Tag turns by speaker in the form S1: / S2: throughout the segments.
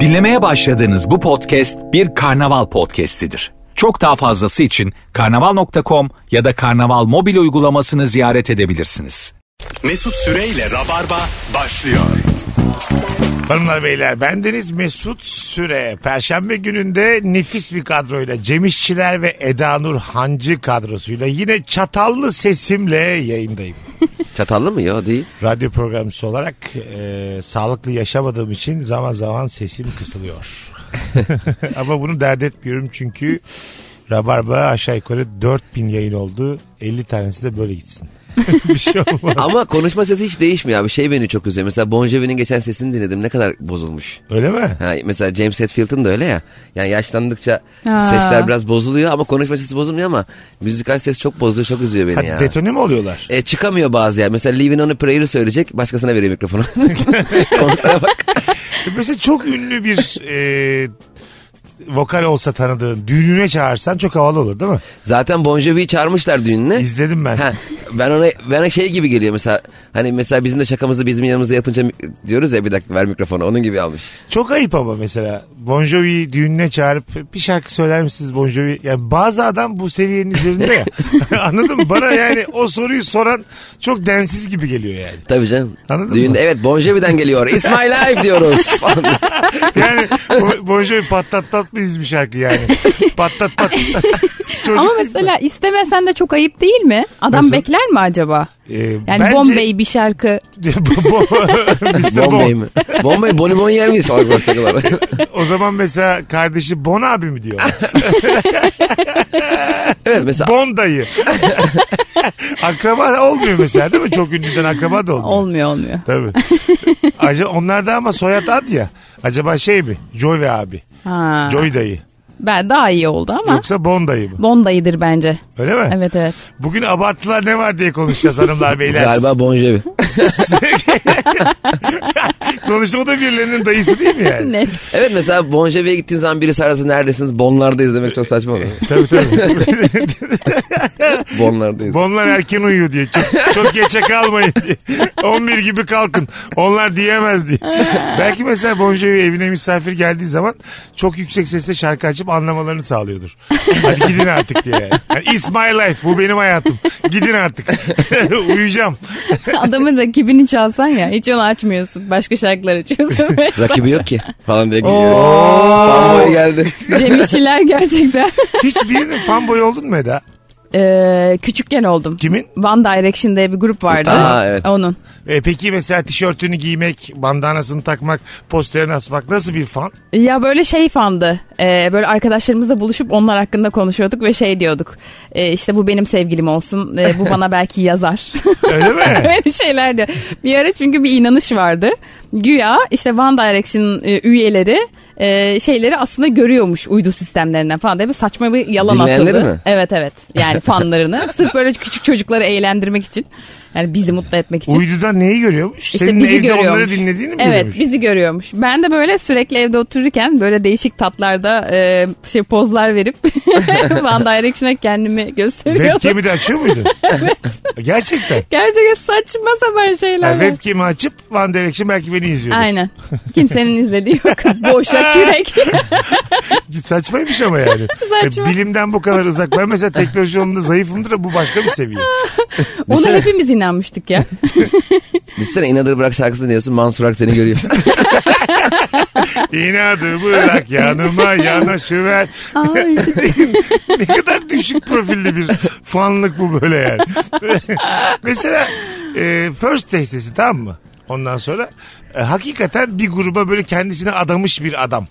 S1: Dinlemeye başladığınız bu podcast bir karnaval podcastidir. Çok daha fazlası için karnaval.com ya da karnaval mobil uygulamasını ziyaret edebilirsiniz.
S2: Mesut Süreyle Rabarba başlıyor.
S3: Hanımlar beyler bendeniz Mesut Süre. Perşembe gününde nefis bir kadroyla Cem İşçiler ve Eda Nur Hancı kadrosuyla yine çatallı sesimle yayındayım.
S4: Çatallı mı ya değil.
S3: Radyo programcısı olarak e, sağlıklı yaşamadığım için zaman zaman sesim kısılıyor. Ama bunu dert etmiyorum çünkü Rabarba aşağı yukarı 4000 yayın oldu. 50 tanesi de böyle gitsin. bir şey olmaz.
S4: Ama konuşma sesi hiç değişmiyor abi. Şey beni çok üzüyor. Mesela Bon Jovi'nin geçen sesini dinledim. Ne kadar bozulmuş.
S3: Öyle mi?
S4: Ha, mesela James Hetfield'ın da öyle ya. Yani yaşlandıkça
S5: Aa.
S4: sesler biraz bozuluyor ama konuşma sesi bozulmuyor ama müzikal ses çok bozuluyor. Çok üzüyor beni
S3: Ha,
S4: ya.
S3: detone mi oluyorlar?
S4: E, çıkamıyor bazı ya. Mesela Living on a Prayer'ı söyleyecek. Başkasına veriyor mikrofonu. Konsere bak.
S3: Mesela çok ünlü bir e, vokal olsa tanıdığın düğününe çağırsan çok havalı olur değil mi?
S4: Zaten Bon Jovi'yi çağırmışlar düğününe.
S3: İzledim ben.
S4: Ha, ben ona ben şey gibi geliyor mesela hani mesela bizim de şakamızı bizim yanımızda yapınca mik- diyoruz ya bir dakika ver mikrofonu onun gibi almış.
S3: Çok ayıp ama mesela Bon Jovi düğününe çağırıp bir şarkı söyler misiniz Bon Jovi? Yani bazı adam bu seviyenin üzerinde ya. Anladın mı? Bana yani o soruyu soran çok densiz gibi geliyor yani.
S4: Tabii canım.
S3: Anladın
S4: Düğünde
S3: mı?
S4: evet Bon Jovi'den geliyor. It's my life diyoruz.
S3: Yani Bo- Bon Jovi patlat tatlıyız bir şarkı yani. Patlat pat. Çocuk
S5: Ama
S3: gibi.
S5: mesela istemesen de çok ayıp değil mi? Adam
S3: Nasıl?
S5: bekler mi acaba?
S3: Ee,
S5: Yani
S3: bence-
S5: Bombay bir şarkı.
S3: Mr. Bon.
S4: Bombay mı? Bombay bonibon yer miyiz? Sonra konuşacaklar.
S3: O zaman mesela kardeşi Bon abi mi diyor?
S4: evet mesela
S3: Bon dayı. akraba olmuyor mesela değil mi? Çok ünlüden akraba da olmuyor.
S5: Olmuyor olmuyor.
S3: Tabii. Acaba onlarda ama soyad ad ya. Acaba şey mi? Joey abi.
S5: Ha.
S3: Joey dayı.
S5: Ben daha iyi oldu ama.
S3: Yoksa Bon dayı mı?
S5: Bondayıdır bence.
S3: Öyle mi?
S5: Evet evet.
S3: Bugün abartılar ne var diye konuşacağız hanımlar beyler.
S4: galiba Bon Jovi.
S3: Sonuçta o da birilerinin dayısı değil mi yani?
S5: Net.
S4: Evet mesela Bon Jovi'ye gittiğin zaman biri sararsa neredesiniz? Bonlardayız demek çok saçma oluyor.
S3: Tabii tabii.
S4: Bonlardayız.
S3: Bonlar erken uyuyor diye. Çok, çok geçe kalmayın diye. 11 gibi kalkın. Onlar diyemez diye. Belki mesela Bon Jovi evine misafir geldiği zaman çok yüksek sesle şarkı açıp anlamalarını sağlıyordur. Hadi gidin artık diye. yani. Yani It's my life. Bu benim hayatım. Gidin artık. Uyuyacağım.
S5: Adamın rakibini çalsan ya. Hiç onu açmıyorsun. Başka şarkılar açıyorsun.
S4: Rakibi yok ki falan diye geliyor. Fanboy geldi.
S5: Cem İşçiler gerçekten.
S3: Hiçbirinin fanboy oldun mu Eda?
S5: Ee, küçükken oldum.
S3: Kimin?
S5: One Direction diye bir grup vardı.
S4: Aa, evet.
S5: Onun.
S3: E, peki mesela tişörtünü giymek, bandanasını takmak, posterini asmak nasıl bir fan?
S5: Ya böyle şey fandı. Ee, böyle arkadaşlarımızla buluşup onlar hakkında konuşuyorduk ve şey diyorduk. Ee, işte bu benim sevgilim olsun. Ee, bu bana belki yazar.
S3: Öyle mi?
S5: Böyle şeylerdi. Bir ara çünkü bir inanış vardı. Güya işte One Direction e, üyeleri e, şeyleri aslında görüyormuş uydu sistemlerinden falan diye bir saçma bir yalan
S4: Dinleyenleri
S5: atıldı.
S4: mi?
S5: Evet evet. Yani fanlarını. Sırf böyle küçük çocukları eğlendirmek için. Yani bizi mutlu etmek için.
S3: Uydudan neyi görüyormuş?
S5: İşte
S3: Senin
S5: bizi
S3: evde
S5: görüyormuş.
S3: onları dinlediğini mi
S5: Evet
S3: görüyormuş?
S5: bizi görüyormuş. Ben de böyle sürekli evde otururken böyle değişik tatlarda e, şey pozlar verip One Direction'a kendimi gösteriyordum.
S3: Webcam'i de açıyor muydun? Gerçekten.
S5: Gerçekten saçma sapan şeyler.
S3: Yani webcam'i açıp One Direction belki beni izliyordur.
S5: Aynen. Kimsenin izlediği yok. Boşa kürek.
S3: Saçmaymış ama yani.
S5: Saçma.
S3: E, Bilimden bu kadar uzak. Ben mesela teknoloji yolunda zayıfımdır da bu başka bir seviye.
S5: Ona
S3: şey-
S5: hepimiz inanmıştık ya.
S4: Düşünsene inadır bırak şarkısını dinliyorsun Mansur Ak seni görüyor.
S3: İnadı bırak yanıma yanaşıver.
S5: Ay.
S3: ne kadar düşük profilli bir fanlık bu böyle yani. Mesela e, first testesi tamam mı? Ondan sonra e, hakikaten bir gruba böyle kendisine adamış bir adam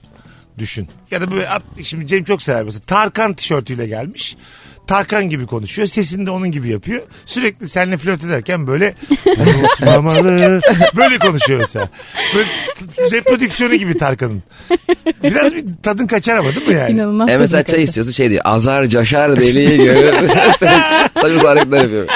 S3: düşün. Ya da böyle at, şimdi Cem çok sever mesela Tarkan tişörtüyle gelmiş. Tarkan gibi konuşuyor. Sesini de onun gibi yapıyor. Sürekli seninle flört ederken böyle unutmamalı. böyle konuşuyor mesela. Böyle reprodüksiyonu gibi Tarkan'ın. Biraz bir tadın kaçar ama değil mi yani?
S5: İnanılmaz.
S4: e mesela
S5: tadını
S4: çay
S5: kaçırdı.
S4: istiyorsun şey diyor. Azar coşar deliği görür. Saçma sapan hareketler yapıyor.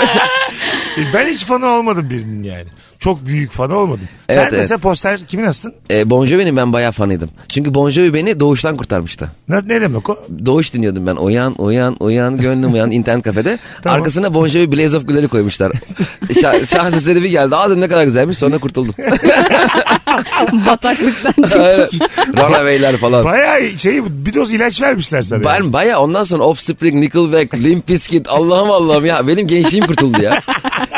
S3: E, Ben hiç fanı olmadım birinin yani. Çok büyük fanı olmadım. Sen
S4: Evet, evet.
S3: mesela poster kimin astın?
S4: E, bon Jovi'nin ben bayağı fanıydım. Çünkü Bon Jovi beni doğuştan kurtarmıştı.
S3: Ne, ne demek o?
S4: Doğuş dinliyordum ben. Uyan, uyan, uyan, gönlüm uyan internet kafede.
S3: Tamam.
S4: Arkasına Bon Jovi Blaze of Gülleri koymuşlar. Şa şans eseri bir geldi. Aa dedim ne kadar güzelmiş sonra kurtuldum.
S5: Bataklıktan çıktı.
S4: Runaway'ler falan.
S3: Bayağı şey bir doz ilaç vermişler sana. yani.
S4: Ben baya ondan sonra Offspring, Nickelback, Limp Bizkit Allah'ım Allah'ım ya benim gençliğim kurtuldu ya.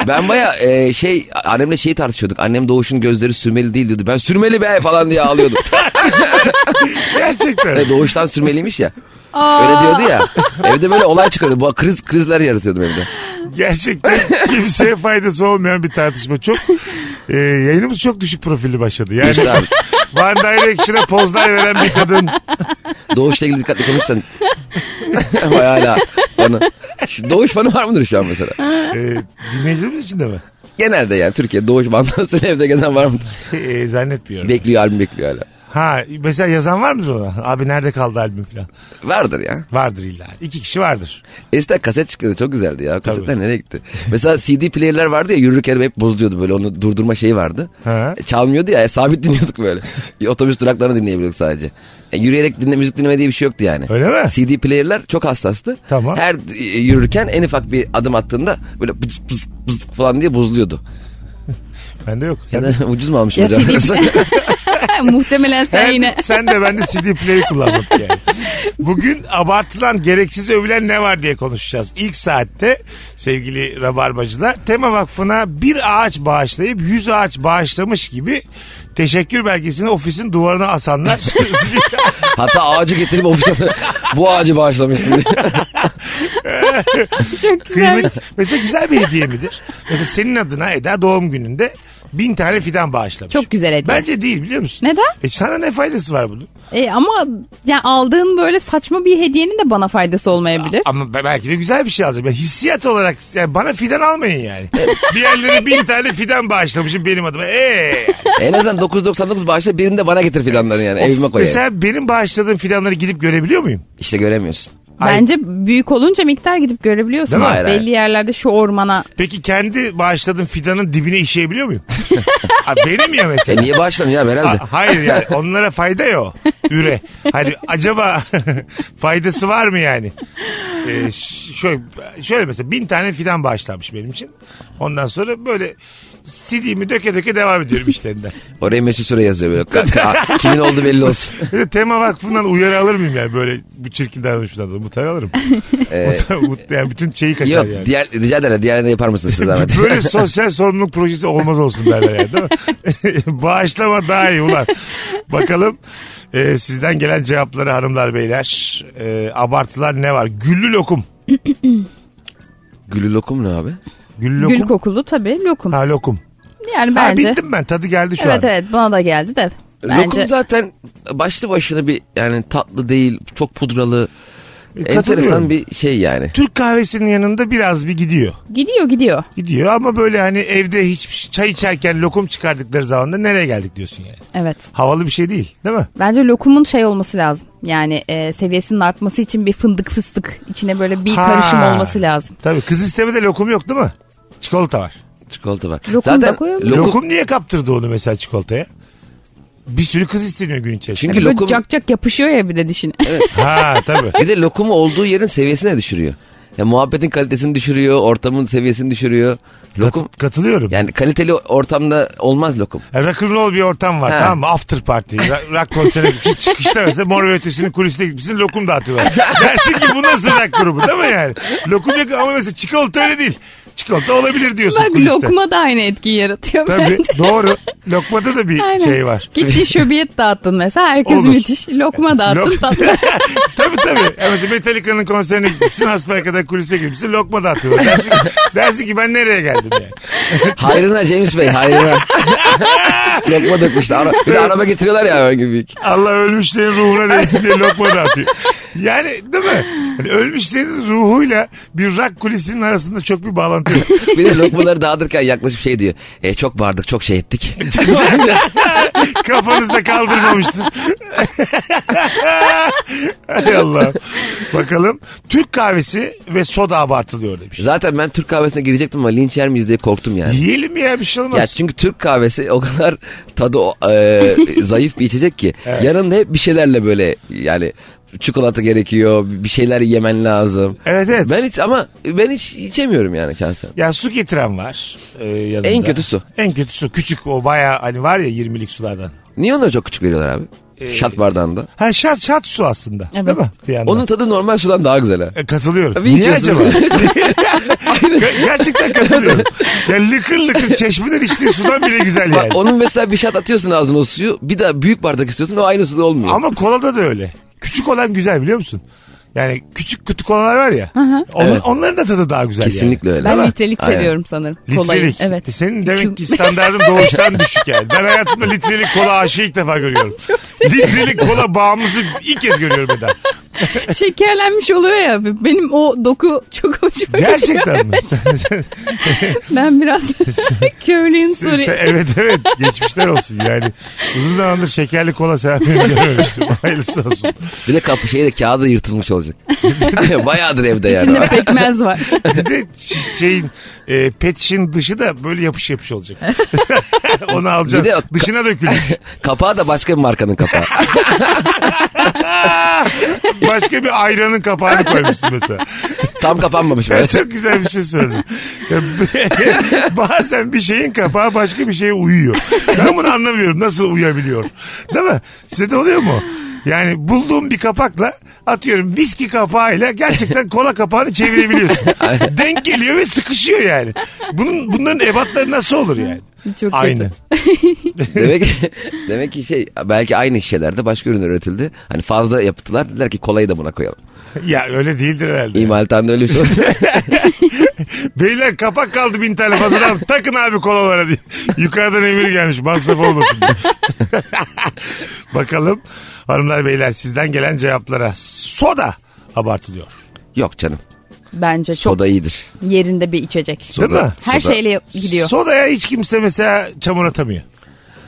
S4: Ben baya e, şey annemle şeyi tartışıyorduk. Annem Doğuş'un gözleri sürmeli değil diyordu. Ben sürmeli be falan diye ağlıyordum.
S3: Gerçekten.
S4: E, Doğuştan sürmeliymiş ya. Öyle diyordu ya. Evde böyle olay çıkarıyordu. Bu kriz krizler yaratıyordum evde.
S3: Gerçekten kimseye faydası olmayan bir tartışma. Çok e, yayınımız çok düşük profilli başladı. Yani
S4: İşte abi,
S3: Van Direction'a pozlar veren bir kadın.
S4: Doğuş'la ilgili dikkatli konuşsan. Vay hala bana. Şu Doğuş fanı var mıdır şu an mesela?
S3: E, dinleyicilerimiz için de mi?
S4: Genelde yani Türkiye Doğuş bandasıyla evde gezen var mıdır?
S3: E, zannetmiyorum.
S4: Bekliyor albüm bekliyor hala.
S3: ha mesela yazan var mıdır ona? Abi nerede kaldı albüm falan.
S4: Vardır ya.
S3: Vardır illa. İki kişi vardır.
S4: Eskiden kaset çıkıyordu çok güzeldi ya. Kasetler nereye gitti? Mesela CD player'ler vardı ya yürürken hep bozuluyordu böyle onu durdurma şeyi vardı.
S3: Ha.
S4: E, Çalmıyordu ya e, sabit dinliyorduk böyle. Bir Otobüs duraklarını dinleyebiliyorduk sadece. E, yürüyerek dinle, müzik dinleme diye bir şey yoktu yani.
S3: Öyle mi?
S4: CD player'ler çok hassastı.
S3: Tamam.
S4: Her e, yürürken en ufak bir adım attığında böyle pız pız pız falan diye bozuluyordu.
S3: Bende yok.
S4: Ya
S3: Sen,
S4: da ucuz mu almış
S5: Ya
S4: hocam?
S5: Muhtemelen sen
S3: Hem
S5: yine
S3: sen de ben de CD play kullanmadık yani. Bugün abartılan gereksiz övülen ne var diye konuşacağız. İlk saatte sevgili Rabarbacılar Tema Vakfı'na bir ağaç bağışlayıp yüz ağaç bağışlamış gibi teşekkür belgesini ofisin duvarına asanlar.
S4: Hatta ağacı getirip ofise bu ağacı bağışlamıştım diye.
S5: çok güzel.
S3: Kıymet, mesela güzel bir hediye midir? Mesela senin adına Eda doğum gününde bin tane fidan bağışlamış.
S5: Çok güzel hediye.
S3: Bence değil biliyor musun?
S5: Neden?
S3: E sana ne faydası var bunun?
S5: E, ama yani aldığın böyle saçma bir hediyenin de bana faydası olmayabilir.
S3: Ama be- belki de güzel bir şey alacağım. Ya hissiyat olarak yani bana fidan almayın yani. bir yerlere bin tane fidan bağışlamışım benim adıma. Ee,
S4: En azından 999 bağışla birini de bana getir fidanlarını yani evime koy. yani.
S3: mesela benim bağışladığım fidanları gidip görebiliyor muyum?
S4: İşte göremiyorsun.
S3: Ay.
S5: Bence büyük olunca miktar gidip görebiliyorsun.
S4: Değil mi? Hayır,
S5: Belli
S4: hayır.
S5: yerlerde şu ormana.
S3: Peki kendi bağışladığım fidanın dibine işeyebiliyor muyum? Ha, benim ya
S4: E
S3: mesela.
S4: niye bağışlamıyor abi herhalde?
S3: Ha- hayır yani onlara fayda yok. Üre. Hani acaba faydası var mı yani? Ee, ş- şöyle, şöyle mesela bin tane fidan bağışlanmış benim için. Ondan sonra böyle CD'mi döke döke devam ediyorum işlerinden.
S4: Oraya Mesut Süre yazıyor böyle. Ka- ka- Kimin oldu belli olsun.
S3: Bir de Tema Vakfı'ndan uyarı alır mıyım yani böyle bu çirkin davranışından dolayı muhtar alırım. Muhtar- mut- yani bütün şeyi kaçar
S4: Ee, Yok
S3: yani.
S4: diğer, rica ederim diğerine yapar mısınız siz zahmet?
S3: Böyle sosyal sorumluluk projesi olmaz olsun derler yani değil mi? Bağışlama daha iyi ulan. Bakalım e, sizden gelen cevapları hanımlar beyler. E, abartılan ne var? Güllü lokum.
S4: Gülü lokum ne abi?
S3: Güllü lokum.
S5: Gül kokulu tabii lokum.
S3: ha lokum.
S5: Yani
S3: Ha,
S5: bence.
S3: bildim ben tadı geldi şu
S5: evet
S3: an.
S5: evet bana da geldi de. Bence
S4: Lokum zaten başlı başına bir yani tatlı değil çok pudralı
S3: E, katılıyorum.
S4: enteresan bir şey yani.
S3: Türk kahvesinin yanında biraz bir gidiyor.
S5: gidiyor gidiyor.
S3: Gidiyor ama böyle hani evde hiç çay içerken lokum çıkardıkları zaman da nereye geldik diyorsun yani.
S5: Evet.
S3: Havalı bir şey değil değil mi?
S5: Bence lokumun şey olması lazım. Yani e, seviyesinin artması için bir fındık fıstık içine böyle bir
S3: Ha.
S5: karışım olması lazım.
S3: Tabii kız istemede lokum yok değil mi? Çikolata var.
S4: Çikolata var.
S5: Lokum da
S4: zaten
S5: koyuyor
S4: lokum,
S3: Lokum, niye kaptırdı onu mesela çikolataya? Bir sürü kız isteniyor gün içerisinde.
S4: Çünkü
S5: Böyle
S4: lokum
S5: cak cak yapışıyor ya bir de düşünün.
S3: Ha tabii.
S4: bir de lokumu olduğu yerin seviyesine düşürüyor. Ya muhabbetin kalitesini düşürüyor, ortamın seviyesini düşürüyor. Lokum
S3: Kat- katılıyorum.
S4: yani kaliteli ortamda olmaz lokum.
S3: Rock'n'roll bir ortam var
S4: Ha.
S3: tamam mı? After party. Ra- Rock konserine gitmişsin. Çıkışta mesela Mor ve Ötesi'nin kulisine gitmişsin. Lokum dağıtıyorlar. Dersin ki bu nasıl rock grubu değil mi yani? Lokum yok ama mesela çikolata öyle değil. Çikolata olabilir diyorsun
S5: Bak
S3: kuliste.
S5: lokma da aynı etkiyi yaratıyor
S3: Tabii
S5: bence.
S3: doğru. Lokmada da bir
S5: Aynen.
S3: şey var.
S5: Gitti şöbiyet dağıttın mesela herkes
S3: Olur.
S5: müthiş. Lokma dağıttın
S3: Lok-
S5: tatlı.
S3: tabii tabii. Yani mesela Metallica'nın konserine gitmişsin. Hasbaya kadar kulise girmişsin. Lokma dağıtıyorlar. Dersin, ki- dersin ki ben nereye geldim yani.
S4: Hayrına James Bey hayrına. Lokma dökmüştü. Ara, bir de araba getiriyorlar ya öyle gibi.
S3: Allah ölmüşlerin ruhuna değsin diye lokma dağıtıyor. Yani değil mi? Hani ölmüşlerin ruhuyla bir rak kulisinin arasında çok bir bağlantı yok.
S4: Bir de lokmaları dağıtırken yaklaşıp şey diyor. E, çok bağırdık çok şey ettik.
S3: Kafanızda kaldırmamıştır. Hay Allah. Bakalım. Türk kahvesi ve soda abartılıyor demiş.
S4: Zaten ben Türk kahvesine girecektim ama linç yer miyiz diye korktum yani.
S3: Yiyelim ya bir şey olmaz.
S4: Ya çünkü Türk kahvesi o kadar tadı o- e, zayıf bir içecek ki. Yanında hep bir şeylerle böyle yani çikolata gerekiyor. Bir şeyler yemen lazım.
S3: Evet, evet.
S4: Ben hiç ama ben hiç içemiyorum yani şahsen.
S3: Ya su getiren var e, yanında.
S4: En kötü su.
S3: En kötü su. Küçük o baya hani var ya 20'lik sulardan.
S4: Niye onları çok küçük veriyorlar abi?
S3: Ee,
S4: Şat bardağında.
S3: Ha şat şat su aslında.
S5: Evet.
S3: Değil mi? Bir yandan.
S4: Onun tadı normal sudan daha güzel ha.
S3: E, katılıyorum.
S4: Tabii
S3: Niye
S4: içiyorsun.
S3: acaba? Ger- Gerçekten katılıyorum. ya lıkır lıkır çeşmeden içtiğin sudan bile güzel yani.
S4: Bak onun mesela bir şat atıyorsun ağzına o suyu. Bir de büyük bardak istiyorsun ve aynı suda olmuyor.
S3: Ama kolada da öyle. Küçük olan güzel biliyor musun? Yani küçük kutu kolalar var ya. onun-
S4: Evet.
S3: Onların da tadı daha güzel yani.
S4: Kesinlikle öyle.
S5: Ben
S3: Ama-
S5: litrelik
S4: Aynen.
S5: seviyorum sanırım. Kolayı.
S3: Litrelik. E,
S5: Evet.
S3: Senin demek ki standartın doğuştan düşük yani. Ben hayatımda litrelik kola aşığı ilk defa görüyorum. litrelik kola bağımlısı ilk kez görüyorum Eda.
S5: Şekerlenmiş oluyor ya. Benim o doku çok hoşuma gidiyor.
S3: Gerçekten mi?
S5: Ben biraz köylüyüm
S3: Sen- sen-
S5: sorry.
S3: evet evet geçmişler olsun yani. Uzun zamandır şekerli kola seven birini görmemiştim. Hayırlısı olsun.
S4: Bir de kapı şeyde kağıdı yırtılmış olacak. Bayağıdır evde yani.
S5: İçinde pekmez var.
S3: Bir de ş- şeyin e, pet şişenin dışı da böyle yapış yapış olacak. Onu alacaksın.
S4: Bir de o-
S3: Dışına dökülür.
S4: Kapağı da başka bir markanın kapağı.
S3: Başka bir ayranın kapağını koymuşsun mesela.
S4: Tam kapanmamış
S3: Ben
S4: böyle.
S3: çok güzel bir şey söyledim. Ya b- Bazen bir şeyin kapağı başka bir şeye uyuyor. Ben bunu anlamıyorum. Nasıl uyabiliyor? Değil mi? Size de oluyor mu? Yani bulduğum bir kapakla atıyorum viski kapağıyla gerçekten kola kapağını çevirebiliyorsun. Denk geliyor ve sıkışıyor yani. Bunun, bunların ebatları nasıl olur yani?
S5: Çok
S3: Aynı.
S5: kötü.
S4: demek ki, demek ki şey belki aynı şişelerde başka ürün üretildi. Hani fazla yaptılar dediler ki kolayı da buna koyalım.
S3: Ya öyle değildir herhalde.
S4: İmalathanede öyle bir şey oldu.
S3: Beyler kapak kaldı bin tane fazladan takın abi kolalara diye. Yukarıdan emir gelmiş masraf olmasın diye. Bakalım hanımlar beyler sizden gelen cevaplara soda abartılıyor.
S4: Yok canım.
S5: Bence çok
S4: Soda iyidir.
S5: yerinde bir içecek.
S3: Değil mi?
S5: Her
S4: soda-
S5: şeyle gidiyor.
S3: Sodaya hiç kimse mesela çamur atamıyor.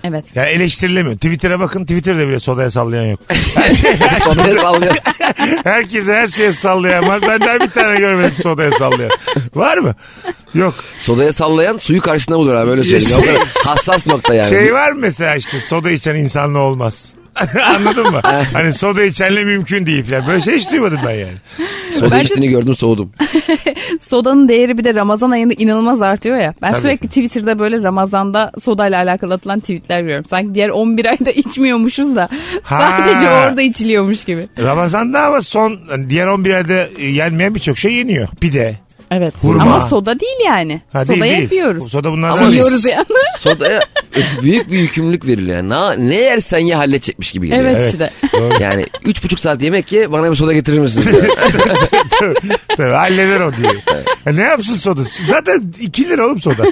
S5: Evet.
S3: Yani eleştirilemiyor. Twitter'a bakın Twitter'da bile sodaya sallayan yok. Her şey,
S4: Sodaya sallıyor.
S3: herkese her şeye sallayan var. Ben daha bir tane görmedim sodaya sallayan. Var mı? Yok.
S4: Sodaya sallayan suyu karşısında bulur abi öyle söyleyeyim. O kadar hassas nokta yani.
S3: Şey var mı mesela işte soda içen insanla olmaz. Anladın mı? hani soda içenle mümkün değil falan. Böyle şey hiç duymadım ben yani.
S4: Soda
S5: Bence-
S4: içtiğini gördüm soğudum.
S5: Sodanın değeri bir de Ramazan ayında inanılmaz artıyor ya. Ben sürekli Twitter'da böyle Ramazan'da sodayla alakalı atılan tweetler görüyorum. Sanki diğer 11 ayda içmiyormuşuz da
S3: Ha.
S5: sadece orada içiliyormuş gibi.
S3: Ramazan'da ama son hani diğer 11 ayda e, yenmeyen birçok şey yeniyor. Pide.
S5: Evet.
S3: Hurma.
S5: Ama soda değil yani.
S3: Ha,
S5: Soda
S3: değil, değil.
S5: yapıyoruz.
S3: Soda bunlardan
S4: Ama
S3: değil.
S5: Yiyoruz yani.
S4: Sodaya büyük bir yükümlülük veriliyor. Yani. Ne, ne yersen ye halledecekmiş gibi geliyor.
S5: Evet,
S3: Evet.
S5: işte.
S3: Doğru.
S4: Yani üç buçuk saat yemek ye bana bir soda getirir misiniz?
S3: Tabii, halleder o diyor. Ya ne yapsın soda? Zaten 2 lira oğlum soda.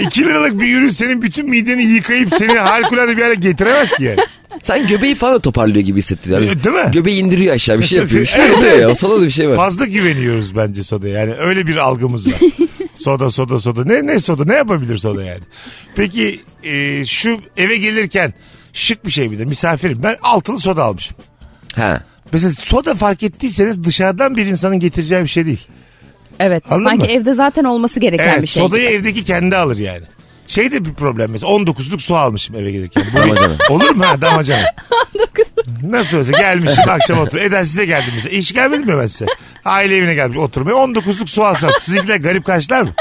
S3: 2 liralık bir ürün senin bütün mideni yıkayıp seni harikulade bir hale getiremez ki yani.
S4: Sen göbeği falan da toparlıyor gibi hissettiriyor. abi.
S3: E, değil mi?
S4: Göbeği indiriyor aşağı bir şey yapıyor. Bir şey oluyor ya. O soda da bir şey var.
S3: Fazla güveniyoruz bence sodaya. Yani öyle bir algımız var. soda soda soda. Ne ne soda? Ne yapabilir soda yani? Peki e, şu eve gelirken şık bir şey bir de misafirim. Ben altılı soda almışım.
S4: Ha.
S3: Mesela soda fark ettiyseniz dışarıdan bir insanın getireceği bir şey değil.
S5: Evet.
S3: Anladın
S5: sanki
S3: mı?
S5: evde zaten olması gereken
S3: Evet
S5: bir şey.
S3: sodayı evdeki kendi alır yani. Şey de bir problem mesela 19'luk su almışım eve gelirken. Bu
S4: Damacana.
S3: bir- olur mu ha damacana? Nasıl mesela gelmişim akşam otur. Eden size geldim mesela. Hiç gelmedim mi ben size? Aile evine gelmiş oturmaya 19'luk su alsam sizinkiler garip karşılar mı?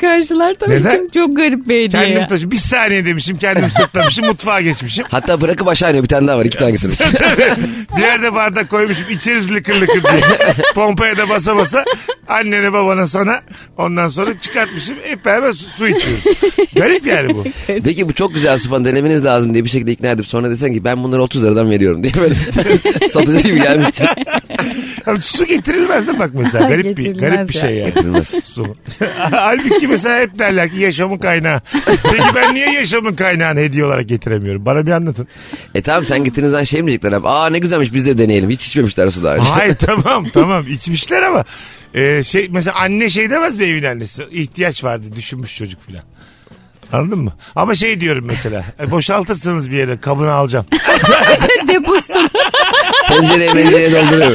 S5: Karşılar tabii
S3: Neden?
S5: çünkü çok garip bir hediye
S3: Kendim
S5: ya.
S3: taşı bir saniye demişim kendim sırtlamışım mutfağa geçmişim.
S4: Hatta bırakıp aşağı iniyor. Bir tane daha var. iki tane getirmiş.
S3: bir yerde bardak koymuşum içeriz lıkır lıkır diye. Pompaya da basa basa annene babana sana ondan sonra çıkartmışım hep beraber su, su içiyoruz. Garip yani bu.
S4: Peki bu çok güzel sıfan denemeniz lazım diye bir şekilde ikna edip sonra desen ki ben bunları 30 liradan veriyorum diye böyle satıcı gibi gelmiş.
S3: Abi su getirilmez de bak mesela garip bir,
S5: Getirilmez
S3: garip bir
S5: ya.
S3: şey yani.
S4: Getirilmez.
S3: Su. Halbuki mesela hep derler ki yaşamın kaynağı. Peki ben niye yaşamın kaynağını hediye olarak getiremiyorum? Bana bir anlatın.
S4: E tamam sen gittiğiniz zaman şey mi diyecekler abi? Aa ne güzelmiş biz de deneyelim. Hiç içmemişler su daha önce.
S3: Hayır tamam tamam içmişler ama e, şey mesela anne şey demez mi evin annesi ihtiyaç vardı düşünmüş çocuk filan. Anladın mı? Ama şey diyorum mesela e, boşaltırsınız bir yere kabını alacağım.
S5: Deposunu
S4: Pencereye pencereye dolduruyor.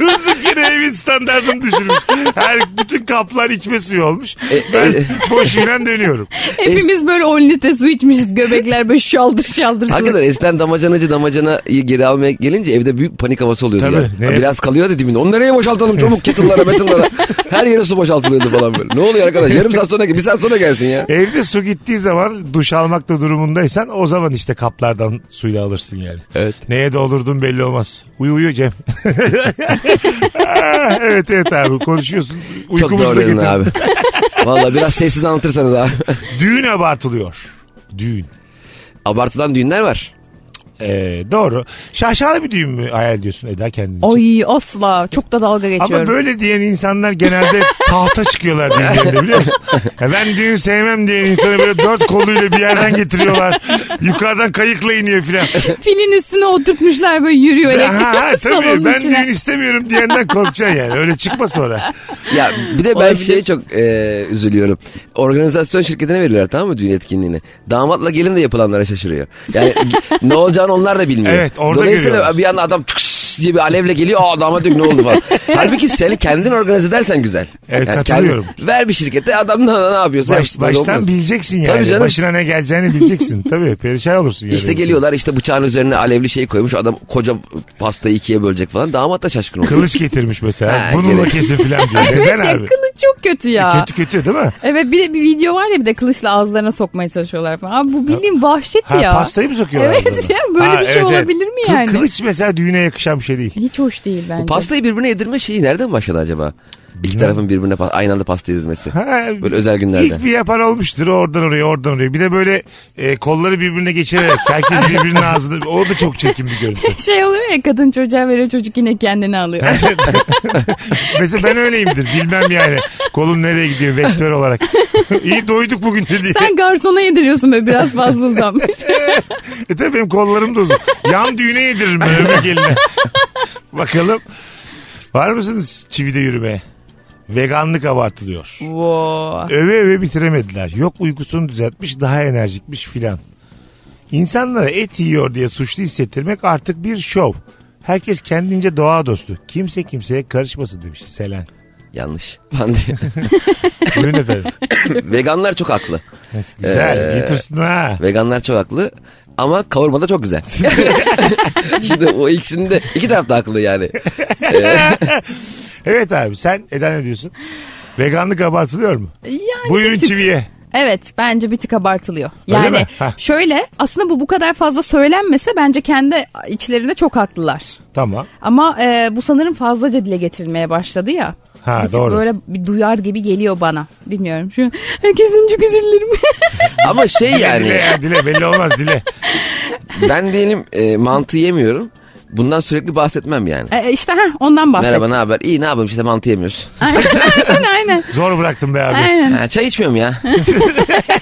S3: Durduk yere evin standartını düşürmüş. Her bütün kaplar içme suyu olmuş. Ben
S4: e-
S3: boşuyla dönüyorum.
S5: Hepimiz böyle 10 litre su içmişiz. Göbekler böyle şaldır şaldır.
S4: Hakikaten eskiden damacanacı damacanayı geri almaya gelince evde büyük panik havası oluyordu
S3: Tabii,
S4: ya.
S3: ne-
S4: Biraz kalıyordu dibinde. Onu nereye boşaltalım çabuk kettle'lara metallara. Her yere su boşaltılıyordu falan böyle. Ne oluyor arkadaş? Yarım saat sonra bir saat sonra gelsin ya.
S3: Evde su gittiği zaman duş almakta durumundaysan o zaman işte kaplardan suyla alırsın yani.
S4: Evet.
S3: Neye doldurdun belli olmaz. Uyu uyu Cem. Aa, evet evet abi konuşuyorsun.
S4: Çok
S3: Uykumuzu
S4: doğru
S3: da
S4: dedin
S3: getirdin.
S4: abi. Valla biraz sessiz anlatırsanız abi.
S3: Düğün abartılıyor. Düğün.
S4: Abartılan düğünler var.
S3: Ee, doğru. Şaşalı bir düğün mü hayal ediyorsun Eda kendin için?
S5: Oy asla. Çok da dalga geçiyorum.
S3: Ama böyle diyen insanlar genelde tahta çıkıyorlar düğünlerinde biliyor musun? Ya ben düğün sevmem diyen insanı böyle dört koluyla bir yerden getiriyorlar. Yukarıdan kayıkla iniyor filan.
S5: Filin üstüne oturtmuşlar böyle yürüyor
S3: Ha, ha,
S5: elektrik
S3: tabii
S5: salonun
S3: ben
S5: içine.
S3: düğün istemiyorum diyenden korkacaksın yani. Öyle çıkma sonra.
S4: Ya bir de ben
S5: Olabilir.
S4: şeye çok e, üzülüyorum. Organizasyon şirketine verirler tamam mı düğün etkinliğini. Damatla gelin de yapılanlara şaşırıyor. Yani ne olacağını onlar da bilmiyor.
S3: Evet, orada
S4: Dolayısıyla
S3: görüyorlar.
S4: bir anda adam tıks diye bir alevle geliyor. Aa damat diyor ki ne oldu falan. Halbuki seni kendin organize edersen güzel.
S3: Evet, katılıyorum.
S4: kendi- ver bir şirkete adam ne, ne yapıyorsa
S3: Baş,
S4: yapsın, öyle
S3: baştan
S4: olmaz.
S3: bileceksin
S4: Tabii
S3: yani.
S4: canım.
S3: Başına ne geleceğini bileceksin. Tabii perişan olursun yani.
S4: İşte geliyorlar işte bıçağın üzerine alevli şey koymuş adam koca pastayı ikiye bölecek falan damat da şaşkın oluyor.
S3: Kılıç getirmiş mesela.
S4: Ha,
S3: Bununla
S4: gerek.
S3: kesin filan diyor. Neden
S5: Ya
S3: abi? E,
S5: kılıç çok kötü ya.
S3: Kötü kötü değil mi?
S5: Evet bir, de bir video var ya bir de kılıçla ağızlarına sokmaya çalışıyorlar falan. Abi bu bildiğin vahşet
S3: Ha,
S5: ya.
S3: pastayı mı sokuyorlar?
S5: Evet
S3: ağzına?
S5: ya, böyle bir şey olabilir mi
S3: Kı-
S5: yani?
S3: Kılıç mesela düğüne yakışan bir şey değil.
S5: Hiç hoş değil bence.
S4: Pastayı birbirine yedirme şeyi nereden başladı acaba? İki tarafın birbirine pa- aynı anda pasta yedirmesi.
S3: Ha,
S4: Böyle özel günlerde.
S3: İlk bir yapan olmuştur oradan oraya oradan oraya. Bir de böyle e, kolları birbirine geçirerek herkes birbirinin ağzını o da çok çirkin bir görüntü.
S5: Şey oluyor ya kadın çocuğa veriyor çocuk yine kendini alıyor.
S3: Mesela ben öyleyimdir bilmem yani kolum nereye gidiyor vektör olarak. İyi doyduk bugün de diye.
S5: Sen garsona yediriyorsun böyle biraz fazla uzanmış.
S3: E tabii benim kollarım da uzun. Yan düğüne yediririm ben öbür geline. Bakalım var mısınız çivide yürümeye? Veganlık abartılıyor.
S5: wow.
S3: öve öve bitiremediler. Yok uykusunu düzeltmiş daha enerjikmiş filan. İnsanlara et yiyor diye suçlu hissettirmek artık bir şov. Herkes kendince doğa dostu. Kimse kimseye karışmasın demiş Selen.
S4: Yanlış. Falan diye.
S3: Buyurun efendim.
S4: Veganlar çok haklı.
S3: Güzel.
S4: Ee,
S3: Getirsin ha.
S4: Veganlar çok haklı. Ama kavurma da çok güzel. Şimdi o ikisinin de iki taraf da haklı yani.
S3: Evet abi sen Eda ne diyorsun? Veganlık abartılıyor mu?
S5: Yani
S3: Buyurun
S5: bir tık-
S3: çiviye.
S5: Evet bence bir tık abartılıyor.
S3: Öyle
S5: Yani
S3: mi? Hah.
S5: şöyle aslında bu bu kadar fazla söylenmese bence kendi içlerinde çok haklılar.
S3: Tamam.
S5: Ama e, bu sanırım fazlaca dile getirilmeye başladı ya.
S3: Ha,
S5: bir tık
S3: doğru.
S5: böyle bir duyar gibi geliyor bana. Bilmiyorum. Şu herkesin çok özür dilerim.
S4: Ama şey
S3: Dile
S4: yani
S3: ya, dile belli olmaz dile.
S4: ben diyelim e, mantı yemiyorum. Bundan sürekli bahsetmem yani.
S5: E, işte ha ondan bahset.
S4: Merhaba ne haber? İyi ne yapalım işte mantı yemiyoruz.
S5: aynen aynen.
S3: Zor bıraktım be abi.
S5: aynen.
S4: Ha, çay içmiyorum ya.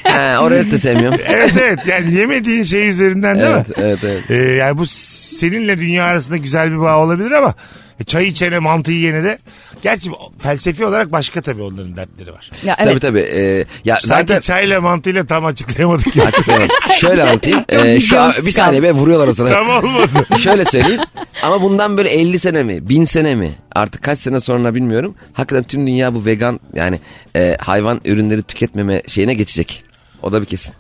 S4: ha, oraya da sevmiyorum.
S3: Evet evet yani yemediğin şey üzerinden değil
S4: Evet
S3: mi?
S4: evet evet.
S3: Ee, yani bu seninle dünya arasında güzel bir bağ olabilir ama e, çay içene mantı yiyene de gerçi felsefi olarak başka tabii onların dertleri var.
S5: Ya
S4: Tabii
S5: evet.
S4: tabii. e, ya
S3: Sanki
S4: zaten
S3: çayla mantıyla tam açıklayamadık ya.
S4: Açıklayalım. Şöyle anlatayım.
S5: Çok
S4: E, şu an,
S5: vicdansız
S4: bir saniye be vuruyorlar o sana.
S3: tam olmadı.
S4: Şöyle söyleyeyim ama bundan böyle 50 sene mi 1000 sene mi artık kaç sene sonra bilmiyorum. Hakikaten tüm dünya bu vegan yani e, hayvan ürünleri tüketmeme şeyine geçecek. O da bir kesin.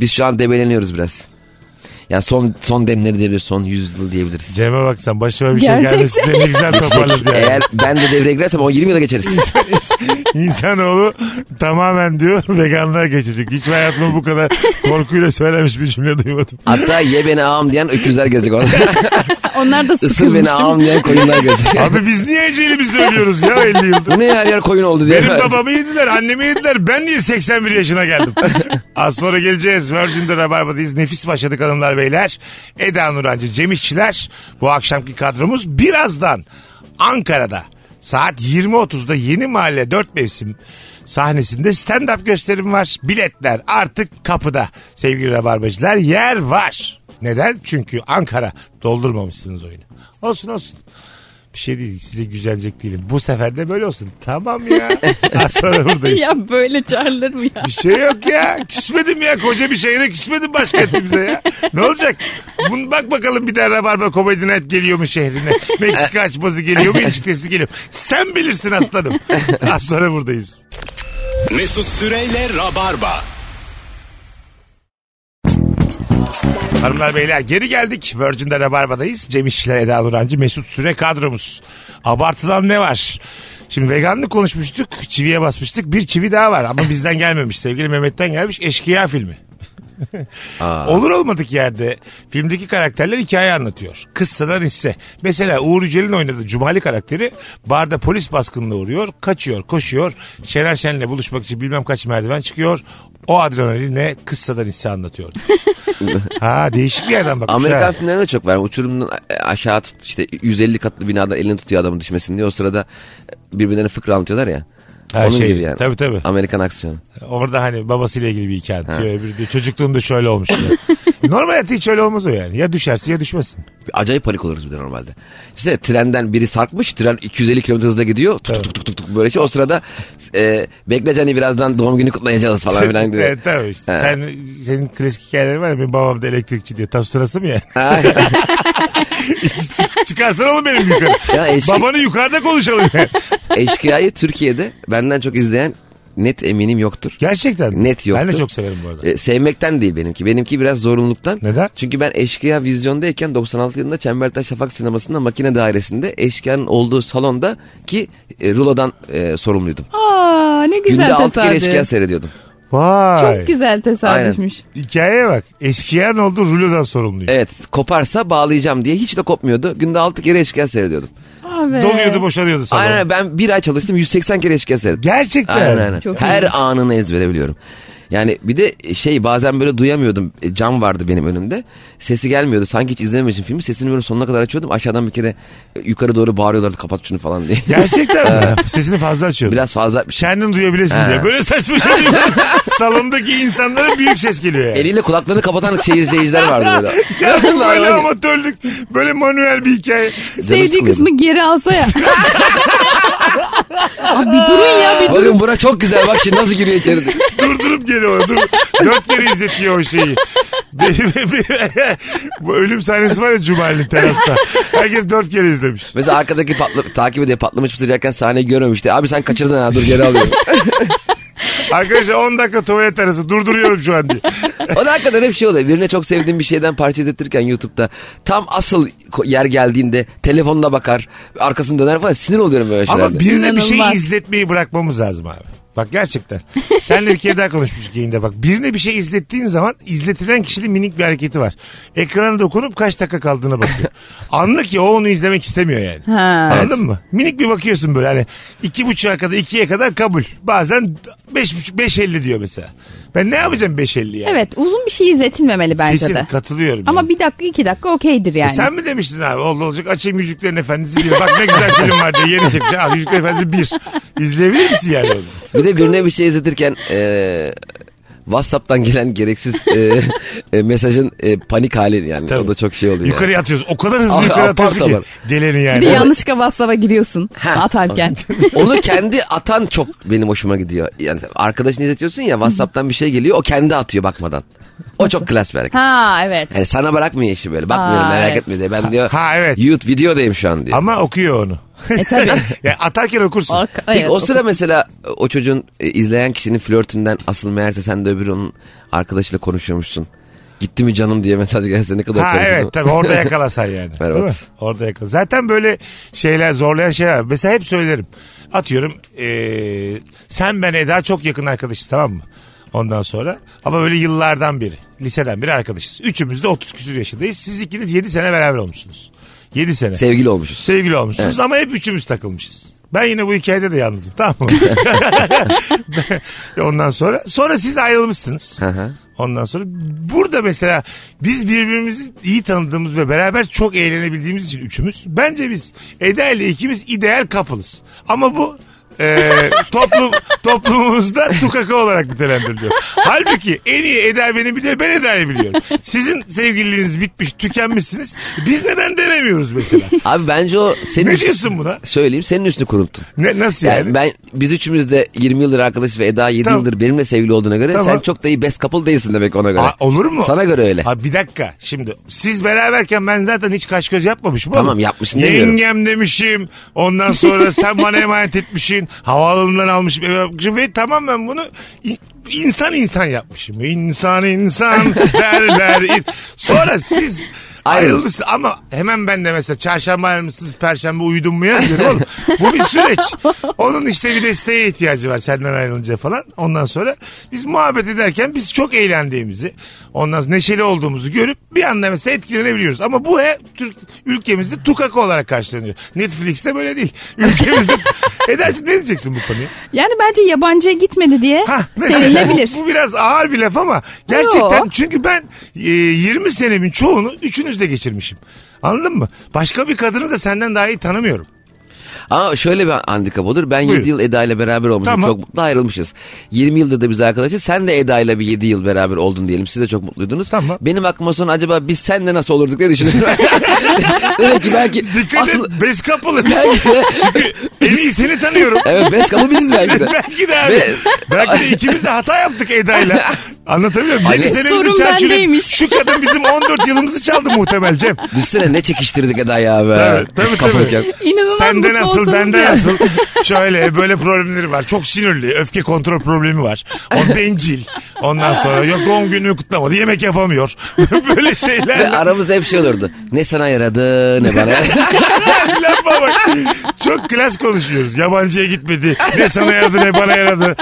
S4: Biz şu an debeleniyoruz biraz. Yani son son demleri diyebilir son yüzyıl diyebiliriz.
S3: Cem'e bak sen başıma bir şey
S5: Gerçekten.
S3: gelmesin diye ne güzel toparladı yani.
S4: Eğer ben de devreye girersem o 20 yıla geçeriz.
S3: İnsanoğlu tamamen diyor veganlığa geçecek. Hiç hayatımda bu kadar korkuyla söylemiş bir cümle duymadım.
S4: Hatta ye beni ağam diyen öküzler gelecek orada.
S5: Onlar da
S4: Isır
S5: sıkılmış.
S4: beni ağam diyen koyunlar gelecek.
S3: Abi biz niye ecelimizle ölüyoruz ya 50 yıldır?
S4: Bu ne her yer koyun oldu diye.
S3: Benim babamı yediler, annemi yediler. Ben niye 81 yaşına geldim? Az sonra geleceğiz. Virgin'de Rabarba'dayız. Nefis başladık hanımlar beyler. Eda Nurancı, Cem İşçiler. Bu akşamki kadromuz birazdan Ankara'da saat 20.30'da Yeni Mahalle 4 Mevsim sahnesinde stand-up gösterim var. Biletler artık kapıda sevgili Rabarbacılar. Yer var. Neden? Çünkü Ankara doldurmamışsınız oyunu. Olsun olsun. bir şey değil size güzelcek değilim. Bu sefer de böyle olsun. Tamam ya. Az sonra buradayız.
S5: ya böyle çağrılır mı ya?
S3: Bir şey yok ya. Küsmedim ya. Koca bir şehre küsmedim başkentimize ya. Ne olacak? Bunu bak bakalım bir daha Rabarba Comedy Night geliyor mu şehrine? Meksika açması geliyor mu? İçtesi geliyor. mu? Sen bilirsin aslanım. Az sonra buradayız.
S2: Mesut Süreyle Rabarba.
S3: Hanımlar beyler geri geldik. Virgin'de Rabarba'dayız. Cem İşçiler, Eda Nurancı, Mesut Süre kadromuz. Abartılan ne var? Şimdi veganlık konuşmuştuk, çiviye basmıştık. Bir çivi daha var ama bizden gelmemiş. Sevgili Mehmet'ten gelmiş Eşkıya filmi. Olur olmadık yerde filmdeki karakterler hikaye anlatıyor. Kıssadan hisse. Mesela Uğur Yücel'in oynadığı Cumali karakteri barda polis baskınına uğruyor, kaçıyor, koşuyor. Şener Şen'le buluşmak için bilmem kaç merdiven çıkıyor. O adrenalinle kıssadan hisse anlatıyor. ha değişik bir yerden bakmış.
S4: Amerikan
S3: ha.
S4: filmlerine çok var. Uçurumdan a- e, aşağı tut işte 150 katlı binadan elini tutuyor adamın düşmesin diye. O sırada e, birbirlerine fıkra anlatıyorlar ya.
S3: Ha,
S4: Onun
S3: şey,
S4: gibi yani.
S3: tabii, tabii.
S4: Amerikan aksiyonu.
S3: Orada hani babasıyla ilgili bir hikaye anlatıyor. Öbürü diyor çocukluğumda şöyle olmuş diyor. Normal hayatta hiç öyle olmaz o yani. Ya düşersin ya düşmesin.
S4: Acayip panik oluruz bir de normalde. İşte trenden biri sarkmış. Tren 250 km hızla gidiyor. Tuk tuk tuk tuk tuk böyle şey. O sırada e, bekleyeceğini birazdan doğum günü kutlayacağız falan filan gibi.
S3: evet tabii işte.
S4: Ha.
S3: Sen, senin klasik hikayelerin var ya benim babam da elektrikçi diye. Tam sırası mı ya?
S4: Ha.
S3: Çıkarsan oğlum benim yukarı.
S4: Ya eşki-
S3: Babanı yukarıda konuşalım yani.
S4: Eşkıya'yı Türkiye'de benden çok izleyen net eminim yoktur.
S3: Gerçekten.
S4: Net yoktu.
S3: Ben de çok severim bu arada.
S4: E, sevmekten değil benimki. Benimki biraz zorunluluktan.
S3: Neden?
S4: Çünkü ben Eşkıya vizyondayken 96 yılında Çembertaş Şafak sinemasında makine dairesinde Eşkıya'nın olduğu salonda ki e, rulodan e, sorumluydum.
S5: Aa ne güzel
S4: Günde 6 kere Eşkıya
S5: tesadüf.
S4: seyrediyordum.
S3: Vay.
S5: Çok güzel tesadüfmüş.
S3: Hikayeye bak. Eşkıyan oldu rulodan sorumluyum.
S4: Evet koparsa bağlayacağım diye hiç de kopmuyordu. Günde 6 kere Eşkıya seyrediyordum.
S5: Abi.
S3: Doluyordu boşalıyordu sabah.
S4: Aynen ben bir ay çalıştım 180 kere Eşkıya seyrettim.
S3: Gerçekten.
S4: Aynen aynen.
S5: Çok
S4: Her
S5: iyiymiş.
S4: anını ezbere biliyorum. Yani bir de şey bazen böyle duyamıyordum. E, Cam vardı benim önümde. Sesi gelmiyordu. Sanki hiç izlememişim filmi. Sesini böyle sonuna kadar açıyordum. Aşağıdan bir kere e, yukarı doğru bağırıyorlardı kapat şunu falan diye.
S3: Gerçekten mi? Sesini fazla açıyordu.
S4: Biraz fazla bir şey.
S3: Kendin duyabilirsin diye. Böyle saçma şey yok. Salondaki insanlara büyük ses geliyor yani.
S4: Eliyle kulaklarını kapatan şey izleyiciler vardı böyle.
S3: Ya bu böyle
S4: Vallahi.
S3: amatörlük. Böyle manuel bir hikaye.
S4: Canım
S5: Sevdiği
S4: sıkılıyordu.
S5: kısmı geri alsa ya. Abi bir durun ya bir durun.
S4: Bakın bura çok güzel bak şimdi nasıl giriyor içeri.
S3: Durdurup geliyor. Dur. Dört kere izletiyor o şeyi. Bu ölüm sahnesi var ya Cumali terasta. Herkes dört kere izlemiş.
S4: Mesela arkadaki patla, takip ediyor patlamış mısırcayken sahneyi görmemişti. Abi sen kaçırdın ha dur geri alıyorum.
S3: Arkadaşlar 10 dakika tuvalet arası durduruyorum şu an diye.
S4: o da hakikaten hep şey oluyor. Birine çok sevdiğim bir şeyden parça izletirken YouTube'da tam asıl ko- yer geldiğinde telefonuna bakar. Arkasını döner falan sinir oluyorum böyle şeylerde.
S3: Ama birine bir şey
S5: İnanılmaz.
S3: izletmeyi bırakmamız lazım abi. Bak gerçekten. Senle bir kere daha konuşmuştuk yayında bak. Birine bir şey izlettiğin zaman izletilen kişinin minik bir hareketi var. Ekrana dokunup kaç dakika kaldığına bakıyor. Anlık ya o onu izlemek istemiyor yani.
S5: Ha.
S3: Anladın mı? Minik bir bakıyorsun böyle hani iki buçuğa kadar ikiye kadar kabul. Bazen beş buçuk beş elli diyor mesela. Ben ne yapacağım beş elli yani?
S5: Evet uzun bir şey izletilmemeli bence
S3: Kesin
S5: de.
S3: katılıyorum. yani.
S5: Ama bir dakika iki dakika okeydir yani.
S3: E Sen mi demiştin abi? Oldu olacak açayım Yüzüklerin Efendisi diye. Bak ne güzel film var diye yeni çekmiş. Abi Yüzüklerin Efendisi bir. İzleyebilir misin yani onu?
S4: Bir de birine bir şey izletirken e, WhatsApp'tan gelen gereksiz e, e, mesajın e, panik hali yani.
S3: Tabii.
S4: O da çok şey oluyor. yani.
S3: Yukarı atıyorsun. O kadar hızlı
S4: Abi,
S3: yukarı
S4: apar
S3: atıyorsun ki.
S4: topar.
S3: Geleni
S5: Bir
S3: yani.
S5: de yanlışlıkla WhatsApp'a giriyorsun
S4: Ha.
S5: atarken.
S4: Onu kendi atan çok benim hoşuma gidiyor. Yani arkadaşını izletiyorsun ya WhatsApp'tan bir şey geliyor o kendi atıyor bakmadan. O çok klas bir hareket.
S5: ha evet. E,
S4: Yani sana bırakmıyor işi böyle. Bakmıyorum
S5: Aa,
S4: merak
S5: evet.
S4: etme diye. Ben diyor
S3: Ha, evet.
S4: YouTube videodayım şu an diyor.
S3: Ama okuyor onu.
S5: E tabii.
S3: Ya atarken okursun.
S5: O,
S4: Peki
S5: evet,
S4: o sıra mesela o çocuğun e, izleyen kişinin flörtünden asıl meğerse sen de öbür onun arkadaşıyla konuşuyormuşsun. Gitti mi canım diye mesaj gelse ne kadar
S3: Ha
S4: korkunç.
S3: evet tabii orada yakalasan yani.
S4: Berbat.
S3: Değil mi? Orada yakala. Zaten böyle şeyler zorlayan şeyler. var. Mesela hep söylerim. Atıyorum eee, sen ben Eda çok yakın arkadaşız tamam mı? Ondan sonra ama böyle yıllardan beri liseden beri arkadaşız. Üçümüz de 30 küsur yaşındayız. Siz ikiniz 7 sene beraber olmuşsunuz. 7 sene.
S4: Sevgili olmuşuz.
S3: sevgili olmuşsunuz ama hep üçümüz takılmışız. Ben yine bu hikayede de yalnızım tamam mı? Ondan sonra sonra siz ayrılmışsınız.
S4: Hı hı.
S3: Ondan sonra burada mesela biz birbirimizi iyi tanıdığımız ve beraber çok eğlenebildiğimiz için üçümüz. Bence biz Eda ile ikimiz ideal kapılız. Ama bu e, toplum toplumumuzda tukaka olarak nitelendiriliyor. Halbuki en iyi Eda beni biliyor ben Eda'yı biliyorum. Sizin sevgililiğiniz bitmiş tükenmişsiniz. Biz neden dinlemiyoruz mesela.
S4: Abi bence o senin...
S3: ne diyorsun buna?
S4: Söyleyeyim senin üstünü kurultun.
S3: Ne, nasıl yani?
S4: Yani, ben biz üçümüz de 20 yıldır arkadaşız ve Eda 7
S3: Tamam.
S4: yıldır benimle sevgili olduğuna göre
S3: Tamam.
S4: sen çok da iyi best couple değilsin demek ona göre.
S3: Aa, olur mu?
S4: Sana göre öyle.
S3: Ha bir dakika şimdi siz beraberken ben zaten hiç kaş göz yapmamışım.
S4: Tamam,
S3: oğlum.
S4: yapmışsın demiyorum.
S3: Yengem demişim ondan sonra sen bana emanet etmişsin havaalanından almışım eve bakmışım ve tamamen bunu i- insan insan yapmışım. İnsan insan berber. in- Sonra siz
S4: Ayrılın.
S3: ayrılmışsınız ama hemen ben de mesela çarşamba ayrılmışsınız perşembe uyudun mu yazıyorum oğlum. Bu bir süreç. Onun işte bir desteğe ihtiyacı var senden ayrılınca falan. Ondan sonra biz muhabbet ederken biz çok eğlendiğimizi ondan sonra neşeli olduğumuzu görüp bir anda mesela etkilenebiliyoruz. Ama bu he Türk ülkemizde tukaka olarak karşılanıyor. Netflix'te böyle değil. Ülkemizde Eda'cığım ne diyeceksin bu konuya?
S5: Yani bence yabancıya gitmedi diye
S3: Ha, mesela
S5: serilebilir.
S3: bu, bu biraz ağır bir laf ama gerçekten
S5: Yo.
S3: çünkü ben e, 20 senemin çoğunu üçünüzle geçirmişim. Anladın mı? Başka bir kadını da senden daha iyi tanımıyorum.
S4: Ama şöyle bir handikap olur. Ben
S3: Buyur.
S4: 7 yıl Eda ile beraber olmuşum.
S3: Tamam.
S4: Çok mutlu ayrılmışız. 20 yıldır da biz arkadaşız. Sen de Eda ile bir 7 yıl beraber oldun diyelim. Siz de çok mutluydunuz.
S3: Tamam.
S4: Benim aklıma sonra acaba biz senle nasıl olurduk diye düşünüyorum. Demek ki belki
S3: Dikkat
S4: asıl...
S3: et best couple'ız.
S4: Belki de,
S3: en iyi seni tanıyorum.
S4: evet best couple biziz belki de.
S3: belki de abi.
S4: Ve-
S3: belki de ikimiz de hata yaptık Eda'yla. Anlatabiliyor muyum?
S4: Hani-
S3: Yedi senemizi
S5: Sorun
S3: çerçülüp
S5: bendeymiş.
S3: şu kadın bizim 14 yılımızı çaldı muhtemel Cem.
S4: Düşünsene ne çekiştirdik Eda'yı abi.
S3: Tabii, tabii,
S4: Biz kapılırken.
S3: tabii.
S5: İnanılmaz
S3: Sende
S5: mutlu
S3: nasıl
S5: olsanız
S3: bende
S5: ya.
S3: nasıl şöyle böyle problemleri var. Çok sinirli öfke kontrol problemi var. O bencil. Ondan sonra yok doğum gününü kutlamadı yemek yapamıyor. böyle
S4: Ve
S3: şeyler.
S4: aramızda hep şey olurdu. Ne sana yaradı ne bana.
S3: Lafa bak. Çok klas konuşuyoruz. Yabancıya gitmedi. Ne sana yaradı ne bana yaradı.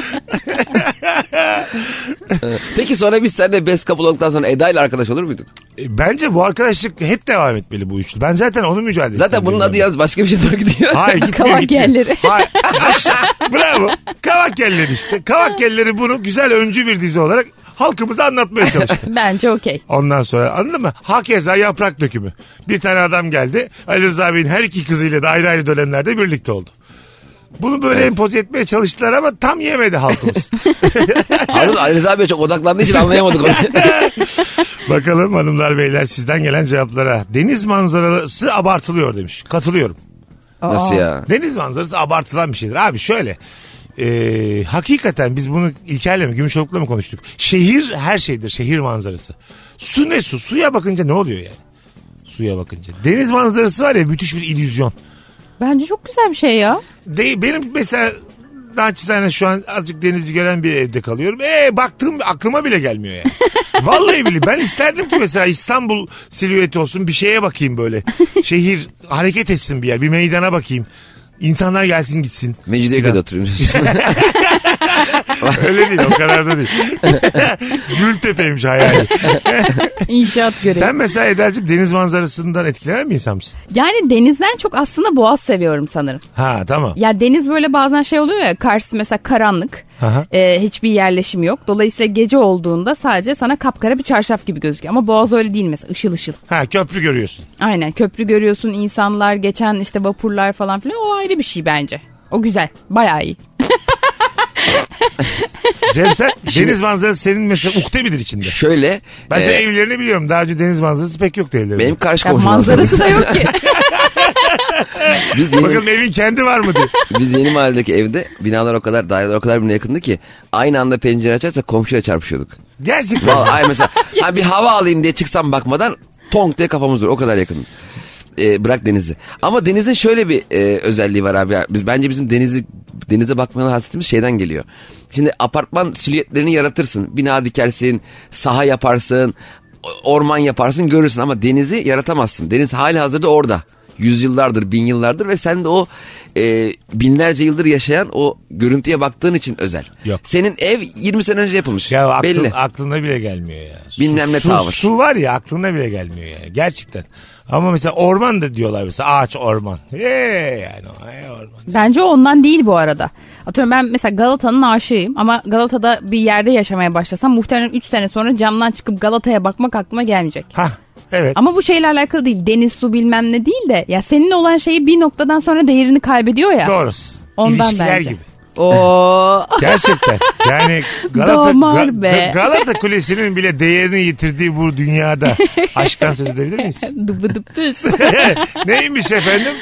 S4: Peki sonra biz seninle best couple olduktan sonra Eda ile arkadaş olur muyduk?
S3: E, Bence bu arkadaşlık hep devam etmeli bu üçlü. Ben zaten onun mücadelesi.
S4: Zaten bunun adı yalnız başka bir şey doğru gidiyor.
S3: Hayır gitmiyor
S5: Kavak
S3: gitmiyor.
S5: yerleri.
S3: Hayır. Aşağı. Bravo. Kavak yerleri işte. Kavak yerleri bunu güzel öncü bir dizi olarak halkımıza anlatmaya çalıştı.
S5: Bence okey.
S3: Ondan sonra anladın mı? Hakeza yaprak dökümü. Bir tane adam geldi. Ali Rıza Bey'in her iki kızıyla da ayrı ayrı dönemlerde birlikte oldu. Bunu böyle empoze etmeye çalıştılar ama tam yemedi halkımız.
S4: Harun Ali Rıza Bey çok odaklandığı için anlayamadık onu.
S3: Bakalım hanımlar beyler sizden gelen cevaplara. Deniz manzarası abartılıyor demiş. Katılıyorum.
S4: Nasıl
S5: Aa.
S4: ya?
S3: Deniz manzarası abartılan bir şeydir. Abi şöyle. e, hakikaten biz bunu İlker'le mi Gümüşoluk'la mı konuştuk? Şehir her şeydir. Şehir manzarası. Su ne su? Suya bakınca ne oluyor yani? Suya bakınca. Deniz manzarası var ya müthiş bir illüzyon.
S5: Bence çok güzel bir şey ya.
S3: De, benim mesela naçizane şu an azıcık denizi gören bir evde kalıyorum. E baktığım aklıma bile gelmiyor yani. Vallahi bile ben isterdim ki mesela İstanbul silüeti olsun bir şeye bakayım böyle. Şehir hareket etsin bir yer bir meydana bakayım. İnsanlar gelsin gitsin.
S4: Mecidiyeköy'de oturuyorum.
S3: Öyle değil o kadar da değil. Gültepe'ymiş hayali.
S5: İnşaat görevi.
S3: Sen mesela Eda'cığım deniz manzarasından etkilenen bir insan mısın?
S5: Yani denizden çok aslında boğaz seviyorum sanırım.
S3: Ha tamam.
S5: Ya deniz böyle bazen şey oluyor ya karşı mesela karanlık.
S3: Aha.
S5: Ee, hiçbir yerleşim yok. Dolayısıyla gece olduğunda sadece sana kapkara bir çarşaf gibi gözüküyor. Ama boğaz öyle değil mesela ışıl ışıl.
S3: Ha köprü görüyorsun.
S5: Aynen köprü görüyorsun insanlar geçen işte vapurlar falan filan o ayrı bir şey bence. O güzel bayağı iyi.
S3: Cem sen deniz manzarası senin mesela ukde midir içinde?
S4: Şöyle.
S3: Ben
S4: e,
S3: senin evlerini biliyorum. Daha önce deniz manzarası pek yoktu evlerinde.
S4: benim karşı
S5: Ya
S4: komşum
S5: manzarası
S4: aslında.
S5: da yok ki.
S4: Biz yeni,
S3: Bakalım evin kendi var mı diye.
S4: biz yeni mahalledeki evde binalar o kadar daireler o kadar birbirine yakındı ki aynı anda pencere açarsa komşuya çarpışıyorduk.
S3: Gerçekten.
S4: Vallahi ay mesela ha bir hava alayım diye çıksam bakmadan tonk diye kafamız duruyor. O kadar yakın. E, bırak denizi. Ama denizin şöyle bir e, özelliği var abi. Biz bence bizim denizi denize bakmayan hasretimiz şeyden geliyor. Şimdi apartman silüetlerini yaratırsın. Bina dikersin, saha yaparsın, o- orman yaparsın, görürsün ama denizi yaratamazsın. Deniz hali hazırda orada. Yüzyıllardır, bin yıllardır ve sen de o e, binlerce yıldır yaşayan o görüntüye baktığın için özel.
S3: Yok.
S4: Senin ev 20 sene önce yapılmış.
S3: Ya aklın,
S4: Belli.
S3: aklına bile gelmiyor ya. Su-
S4: Bilmem ne
S3: su,
S4: tavır.
S3: Su var ya aklına bile gelmiyor yani gerçekten. Ama mesela orman da diyorlar mesela ağaç orman. Ee yani o, ee, orman.
S5: Bence o ondan değil bu arada. Atıyorum ben mesela Galata'nın aşığıyım ama Galata'da bir yerde yaşamaya başlasam muhtemelen 3 sene sonra camdan çıkıp Galata'ya bakmak aklıma gelmeyecek.
S3: Ha evet.
S5: Ama bu şeyle alakalı değil. Deniz, su bilmem ne değil de ya seninle olan şeyi bir noktadan sonra değerini kaybediyor ya.
S3: Doğru.
S5: Ondan
S3: İlişkiler
S5: bence.
S3: gibi.
S5: Oo.
S3: Gerçekten. Yani Galata,
S5: Damar
S3: Ga-
S5: be.
S3: Galata Kulesi'nin bile değerini yitirdiği bu dünyada aşktan söz edebilir miyiz?
S5: dıbı dıp düz.
S3: Neymiş efendim?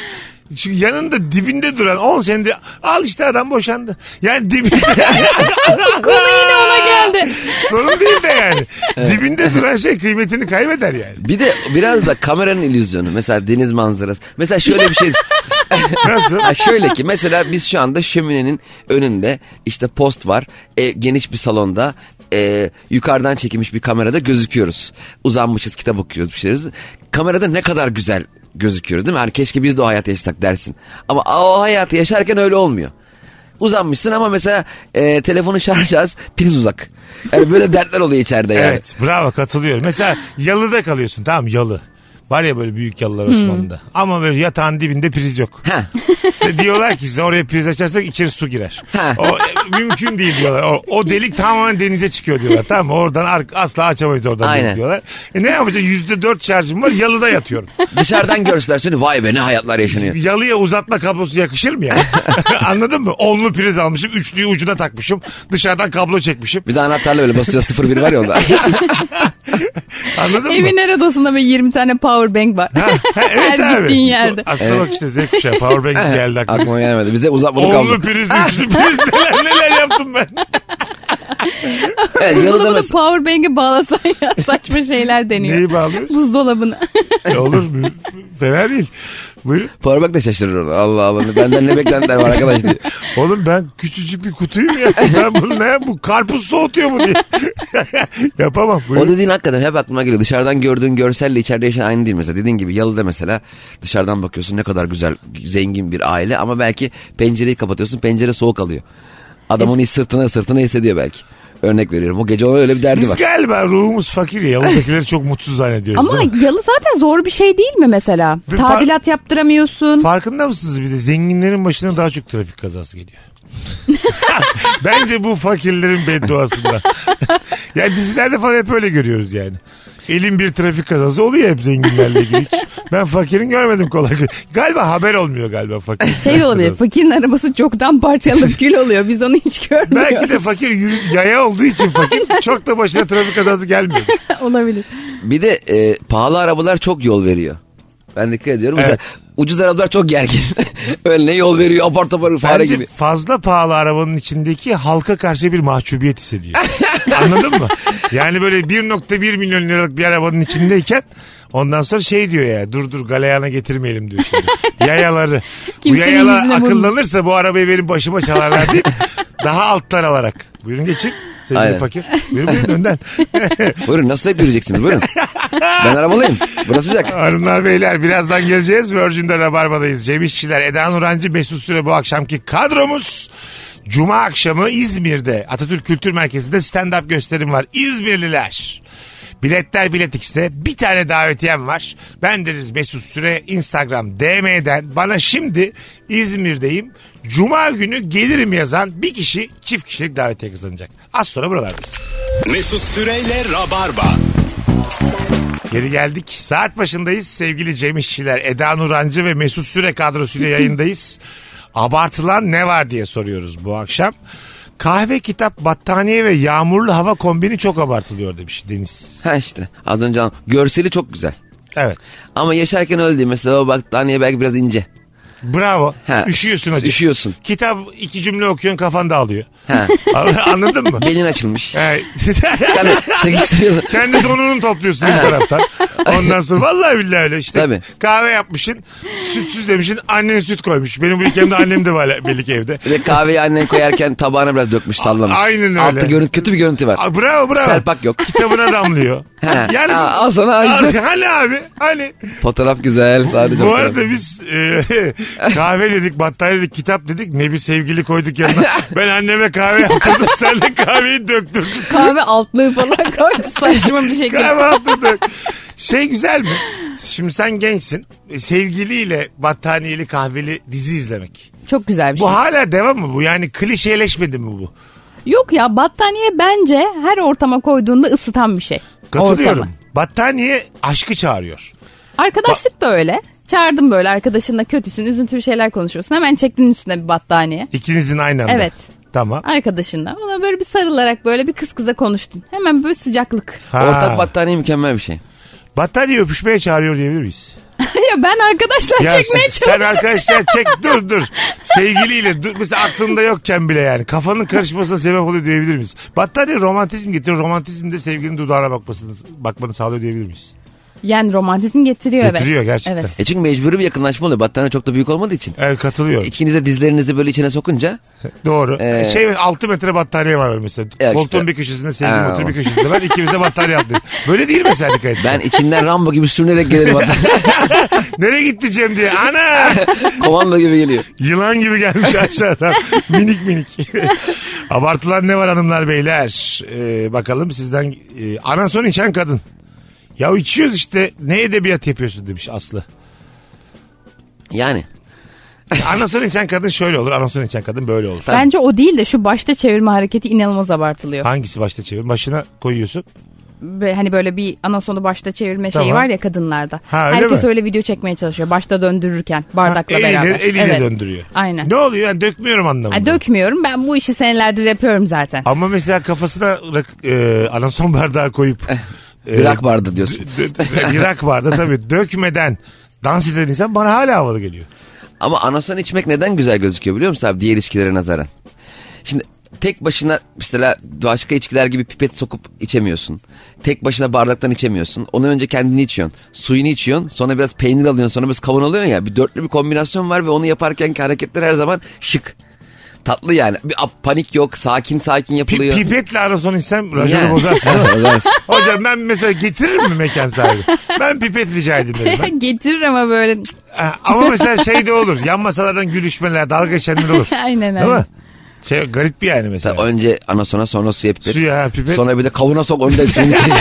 S3: Şu yanında dibinde duran 10 senede al işte adam boşandı. Yani dibinde. Konu yine ona
S5: Geldi.
S3: Sorun değil de yani. Dibinde duran şey kıymetini kaybeder yani.
S4: Bir de biraz da kameranın illüzyonu. Mesela deniz manzarası. Mesela şöyle bir şey.
S3: Nasıl?
S4: Ha şöyle ki mesela biz şu anda şöminenin önünde işte post var. E, geniş bir salonda. e, yukarıdan çekilmiş bir kamerada gözüküyoruz. Uzanmışız kitap okuyoruz bir şeyiz. Kamerada ne kadar güzel gözüküyoruz değil mi? Yani keşke biz de o hayatı yaşasak dersin. Ama o hayatı yaşarken öyle olmuyor. Uzanmışsın ama mesela e, telefonu şarj az piriz uzak. Yani böyle dertler oluyor içeride yani.
S3: Evet bravo katılıyorum. Mesela yalıda kalıyorsun tamam yalı. Var ya böyle büyük yalılar Osmanlı'da. Ama böyle yatağın dibinde priz yok.
S4: Ha.
S3: İşte diyorlar ki size oraya priz açarsak içeri su girer.
S4: Ha.
S3: O e, mümkün değil diyorlar. O, o delik tamamen denize çıkıyor diyorlar. Tamam mı? Oradan ar- asla açamayız oradan delik
S4: Aynen.
S3: diyorlar. E ne yapacağım? Yüzde dört şarjım var yalıda yatıyorum.
S4: Dışarıdan görseler seni vay be ne hayatlar yaşanıyor.
S3: Yalıya uzatma kablosu yakışır mı ya? Anladın mı? Onlu priz almışım. Üçlüyü ucuna takmışım. Dışarıdan kablo çekmişim.
S4: Bir de anahtarla böyle basıyor 01 var ya onda.
S3: Anladın mı?
S5: Evin her odasında böyle 20 tane power bank var.
S3: Ha, ha, evet
S5: Her
S3: abi.
S5: gittiğin yerde.
S3: Aslında bak işte Z kuşağı powerbank geldi
S4: Aklıma
S3: aklıma.
S4: gelmedi. Bize uzatmadık
S3: Onlu
S4: kaldı.
S3: priz, üçlü priz neler neler yaptım ben.
S4: Evet,
S5: Buzdolabını
S4: yalıda
S5: da
S4: mes-
S5: power bank'e bağlasan ya saçma şeyler deniyor.
S3: Neyi bağlıyoruz?
S5: Buzdolabına.
S3: E, Olur mu? Fena değil. Buyurun.
S4: Powerbank da şaşırır onu. Allah Allah benden ne beklentiler var arkadaş diye.
S3: Oğlum ben küçücük bir kutuyum ya. Ben bunu ne? Bu karpuz soğutuyor mu diye. Yapamam.
S4: O
S3: Buyurun.
S4: dediğin hakikaten hep aklıma geliyor. Dışarıdan gördüğün görselle içeride yaşayan aynı değil mesela. Dediğin gibi yalıda mesela dışarıdan bakıyorsun ne kadar güzel zengin bir aile ama belki pencereyi kapatıyorsun pencere soğuk alıyor. Adam onu sırtına sırtına hissediyor belki. Örnek veriyorum. O gece ona öyle bir derdi
S3: Biz
S4: var.
S3: galiba ruhumuz fakir ya. Yavuzdakileri çok mutsuz zannediyoruz.
S5: Ama
S3: değil mi?
S5: yalı zaten zor bir şey değil mi mesela?
S3: Bir fa-
S5: Tadilat yaptıramıyorsun.
S3: Farkında mısınız bir de zenginlerin başına daha çok trafik kazası geliyor. Bence bu fakirlerin bedduasında. yani dizilerde falan hep öyle görüyoruz yani. Elin bir trafik kazası oluyor hep zenginlerle ilgili. Hiç ben fakirin görmedim kolay. Galiba haber olmuyor galiba fakir.
S5: şey de olabilir. Fakirin arabası çoktan parçalanıp kül oluyor. Biz onu hiç görmüyoruz.
S3: Belki de fakir yürü- yaya olduğu için fakir. çok da başına trafik kazası gelmiyor.
S5: olabilir.
S4: Bir de e, pahalı arabalar çok yol veriyor. Ben dikkat ediyorum. Mesela ucuz arabalar çok gergin. Önüne yol veriyor apar topar fare
S3: Bence
S4: gibi.
S3: fazla pahalı arabanın içindeki halka karşı bir mahcubiyet hissediyor. Anladın mı? Yani böyle 1.1 milyon liralık bir arabanın içindeyken ondan sonra şey diyor ya dur dur galeyana getirmeyelim diyor şimdi. Yayaları. bu
S5: Kimsenin
S3: yayalar
S5: yüzüne vurma.
S3: akıllanırsa bu arabayı benim başıma çalarlar deyip daha alttan alarak. Buyurun geçin. Sevgili
S4: Aynen.
S3: fakir. Buyurun buyurun önden.
S4: Buyurun nasıl hep yürüyeceksiniz buyurun. ben arabalıyım. Burası sıcak.
S3: Hanımlar beyler birazdan geleceğiz. Virgin'de Rabarba'dayız. Cem İşçiler, Eda Nurancı, Mesut Süre bu akşamki kadromuz. Cuma akşamı İzmir'de Atatürk Kültür Merkezi'nde stand-up gösterim var. İzmirliler. Biletler Bilet X'te bir tane davetiyem var. Ben deniz Mesut Süre Instagram DM'den bana şimdi İzmir'deyim. Cuma günü gelirim yazan bir kişi çift kişilik davetiye kazanacak. Az sonra buralardayız.
S2: Mesut Süreyle Rabarba.
S3: Geri geldik. Saat başındayız. Sevgili Cem İşçiler, Eda Nurancı ve Mesut Süre kadrosuyla yayındayız. Abartılan ne var diye soruyoruz bu akşam. Kahve, kitap, battaniye ve yağmurlu hava kombini çok abartılıyor demiş Deniz.
S4: Ha işte az önce an- görseli çok güzel.
S3: Evet.
S4: Ama yaşarken öldü mesela o battaniye belki biraz ince.
S3: Bravo.
S4: Ha.
S3: Üşüyorsun hacı.
S4: Üşüyorsun.
S3: Kitap iki cümle okuyorsun kafan dağılıyor.
S4: Ha.
S3: Anladın mı?
S4: Belin açılmış. Hani
S3: Evet.
S4: Yani sekiştiriyorsun.
S3: Kendi donunu topluyorsun bir taraftan. Ondan sonra vallahi billahi öyle işte.
S4: Tabii.
S3: Kahve yapmışsın. Sütsüz demişsin. Annen süt koymuş. Benim bu ülkemde annem de var belli ki evde.
S4: Ve kahveyi annen koyarken tabağına biraz dökmüş sallamış.
S3: Aynen öyle.
S4: Altta görüntü, kötü bir görüntü var.
S3: Aa, bravo bravo.
S4: Serpak yok.
S3: Kitabına damlıyor.
S4: Ha. Aa, al sana şey.
S3: Al-
S4: acısı.
S3: Hani abi hani.
S4: Fotoğraf güzel. Sadece
S3: Bu
S4: fotoğraf.
S3: arada biz e, kahve dedik, battaniye dedik, kitap dedik. Ne bir sevgili koyduk yanına. Ben anneme kahve yaptırdım. Sen de kahveyi döktürdün.
S5: Kahve altlığı falan koydu saçma bir şekilde.
S3: Kahvaltıda. Şey güzel mi? Şimdi sen gençsin. E, Sevgiliyle battaniyeli kahveli dizi izlemek.
S5: Çok güzel bir şey.
S3: Bu hala devam mı bu? Yani klişeleşmedi mi bu?
S5: Yok ya battaniye bence her ortama koyduğunda ısıtan bir şey.
S3: Katılıyorum.
S5: Ortama.
S3: Battaniye aşkı çağırıyor.
S5: Arkadaşlık da öyle. Çağırdım böyle arkadaşınla kötüsün, üzüntülü şeyler konuşuyorsun. Hemen çektin üstüne bir battaniye.
S3: İkinizin aynı anda.
S5: Evet.
S3: Tamam.
S5: Arkadaşınla. Ona böyle bir sarılarak böyle bir kız kıza konuştun. Hemen böyle sıcaklık.
S3: Ha.
S4: Ortak battaniye mükemmel bir şey.
S3: Battaniye öpüşmeye çağırıyor diyebilir miyiz?
S5: ya ben arkadaşlar
S3: Ya sen-
S5: çekmeye
S3: sen
S5: çalışıyorum.
S3: arkadaşlar çek dur dur. Sevgiliyle dur. Mesela aklında yokken bile yani. Kafanın karışmasına sebep oluyor diyebilir miyiz? Battaniye romantizm getiriyor. Romantizm de sevgilinin dudağına bakmasını, bakmanı sağlıyor diyebilir miyiz?
S5: Yani romantizm getiriyor, evet.
S3: Getiriyor gerçekten.
S5: Evet.
S4: E çünkü mecburi bir yakınlaşma oluyor. Battaniye çok da büyük olmadığı için.
S3: Evet katılıyor.
S4: İkiniz de dizlerinizi böyle içine sokunca
S3: Doğru.
S4: Ee,
S3: şey 6 metre battaniye var mesela.
S4: Ya
S3: Koltuğun
S4: işte.
S3: bir köşesinde sevgilim
S4: Ha,
S3: oturuyor bir
S4: o.
S3: köşesinde ben ikimiz de battaniye atlıyoruz. Böyle değil mi sen dikkat etsen?
S4: ben içinden Rambo gibi sürünerek gelirim battaniye.
S3: Nereye gitti Cem diye. Ana!
S4: Komando gibi geliyor.
S3: Yılan gibi gelmiş aşağıdan. minik minik. Abartılan ne var hanımlar beyler? Ee, bakalım sizden. Ee, anason içen kadın. Ya içiyoruz işte. Ne edebiyat yapıyorsun demiş Aslı.
S4: Yani.
S3: Anason içen kadın şöyle olur. Anason içen kadın böyle olur.
S5: Bence o değil de şu başta çevirme hareketi inanılmaz abartılıyor.
S3: Hangisi başta çevir? Başına koyuyorsun.
S5: Ve hani böyle bir anasonu başta çevirme şeyi
S3: Tamam.
S5: var ya kadınlarda.
S3: Ha, öyle
S5: Herkes
S3: mi?
S5: öyle video çekmeye çalışıyor. Başta döndürürken bardakla
S3: Ha, eliyle,
S5: beraber.
S3: eliyle
S5: Evet.
S3: döndürüyor.
S5: Aynen.
S3: Ne oluyor? Yani dökmüyorum anlamında.
S5: Ay, dökmüyorum ben bu işi senelerdir yapıyorum zaten.
S3: Ama mesela kafasına rak- e, anason bardağı koyup e,
S4: Bırak Eh, vardı diyorsun.
S3: d- d- Irak bardağı tabii dökmeden dans eden insan bana hala havalı geliyor.
S4: Ama anason içmek neden güzel gözüküyor biliyor musun abi diğer içkilere nazaran? Şimdi tek başına mesela başka içkiler gibi pipet sokup içemiyorsun. Tek başına bardaktan içemiyorsun. Ondan önce kendini içiyorsun. Suyunu içiyorsun. Sonra biraz peynir alıyorsun. Sonra biraz kavun alıyorsun ya. Bir dörtlü bir kombinasyon var ve onu yaparkenki hareketler her zaman şık. Tatlı yani. Bir ap- panik yok. Sakin sakin
S3: Pi-
S4: yapılıyor.
S3: pipetle anason içsem rajonu
S4: Yani.
S3: bozarsın.
S4: Bozarsın.
S3: Hocam ben mesela getiririm mi mekan sahibi? Ben pipet rica edeyim dedim ben.
S5: Getirir ama böyle.
S3: Ha, Ama mesela şey de olur. Yan masalardan gülüşmeler, dalga geçenler olur.
S5: aynen
S3: Değil
S5: aynen.
S3: mi? Şey garip bir yani mesela.
S4: Mesela önce anasona sonra suya pipet.
S3: Suya ha, pipet.
S4: Sonra bir de kavuna sok onu da suyun içine.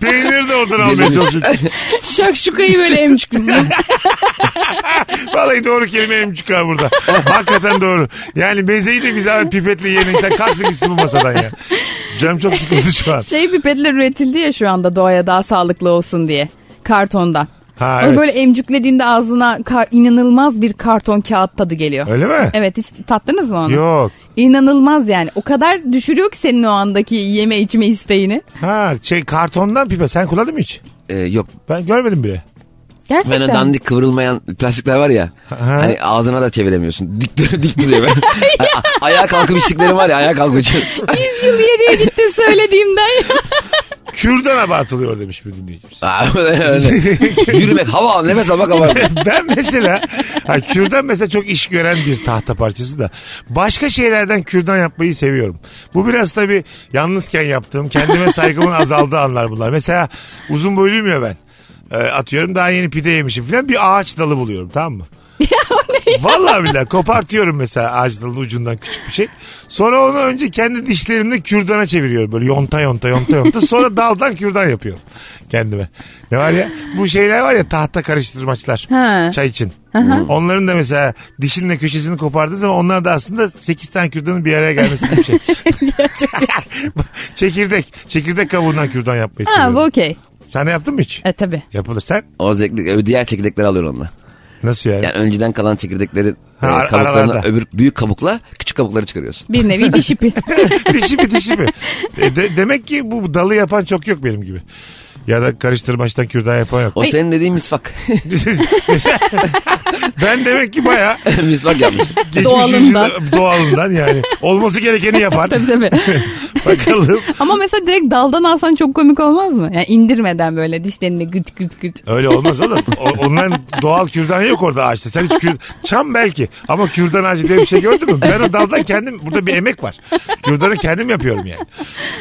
S3: Peynir de oradan almaya çalışıyor.
S5: Şakşukayı böyle emcik.
S3: Vallahi doğru kelime emcik ha burada. Hakikaten doğru. Yani mezeyi de biz abi pipetle yiyen insan kalksın gitsin bu masadan ya. Cem çok sıkıldı şu an.
S5: şey pipetler üretildi ya şu anda doğaya daha sağlıklı olsun diye. Kartondan.
S3: Ha,
S5: Onu
S3: evet.
S5: Böyle emcüklediğinde ağzına kar- inanılmaz bir karton kağıt tadı geliyor.
S3: Öyle mi?
S5: Evet hiç tattınız mı onu?
S3: Yok.
S5: İnanılmaz yani. O kadar düşürüyor ki senin o andaki yeme içme isteğini.
S3: Ha şey kartondan pipet. Sen kullandın mı hiç?
S4: Ee, yok
S3: Ben görmedim bile.
S5: Gerçekten.
S4: Ben o dandik kıvrılmayan plastikler var ya. Hani ağzına da çeviremiyorsun. Dik, dur- dik duruyor ben. A- a- ayağa kalkıp içtiklerim var ya ayağa kalkacağız.
S5: 100 yıl geriye gitti söylediğimden.
S3: Kürdan abartılıyor demiş bir dinleyicimiz.
S4: Yürümek, hava al, nefes almak hava. al.
S3: ben mesela ha, kürdan mesela çok iş gören bir tahta parçası da başka şeylerden kürdan yapmayı seviyorum. Bu biraz tabii yalnızken yaptığım kendime saygımın azaldığı anlar bunlar. Mesela uzun boyluyum ya ben. Ee, atıyorum daha yeni pide yemişim falan bir ağaç dalı buluyorum tamam mı? Vallahi billahi kopartıyorum mesela ağaç dalının ucundan küçük bir şey. Sonra onu önce kendi dişlerimle kürdana çeviriyorum. Böyle yonta yonta yonta yonta. Sonra daldan kürdan yapıyorum kendime. Ne var ya? Bu şeyler var ya tahta karıştırmaçlar.
S5: Ha.
S3: Çay için. Onların da mesela dişinle köşesini kopardığı zaman onlar da aslında 8 tane kürdanın bir araya gelmesi gibi bir şey. çekirdek. Çekirdek kabuğundan kürdan yapmayı
S5: ha
S3: seviyorum.
S5: bu okey.
S3: Sen de yaptın mı hiç?
S5: E tabi.
S3: Yapılır. Sen
S4: O zevkli, diğer çekirdekleri alıyor onunla.
S3: nasıl yani?
S4: Yani önceden kalan çekirdekleri
S3: Ha,
S4: e,
S3: ar-
S4: kabuklarını
S3: aralarda.
S4: öbür büyük kabukla küçük kabukları çıkarıyorsun.
S5: Bir nevi diş ipi.
S3: dişi mi dişi mi? E de- demek ki bu dalı yapan çok yok benim gibi. Ya da karıştırmaçtan kürdan yapan yok.
S4: O senin dediğin misfak.
S3: ben demek ki baya
S4: misfak yapmış.
S3: geçmiş
S5: Doğalından.
S3: yüzyılda- doğalından yani. Olması gerekeni yapar.
S5: tabi tabi.
S3: Bakalım.
S5: Ama mesela direkt daldan alsan çok komik olmaz mı? Yani indirmeden böyle dişlerini gırt gırt gırt.
S3: Öyle olmaz oğlum. O- onların doğal kürdan yok orada ağaçta. Sen hiç kür... Çam belki ama kürdan ağacı diye bir şey gördün mü? Ben o daldan kendim... Burada bir emek var. Kürdanı kendim yapıyorum yani.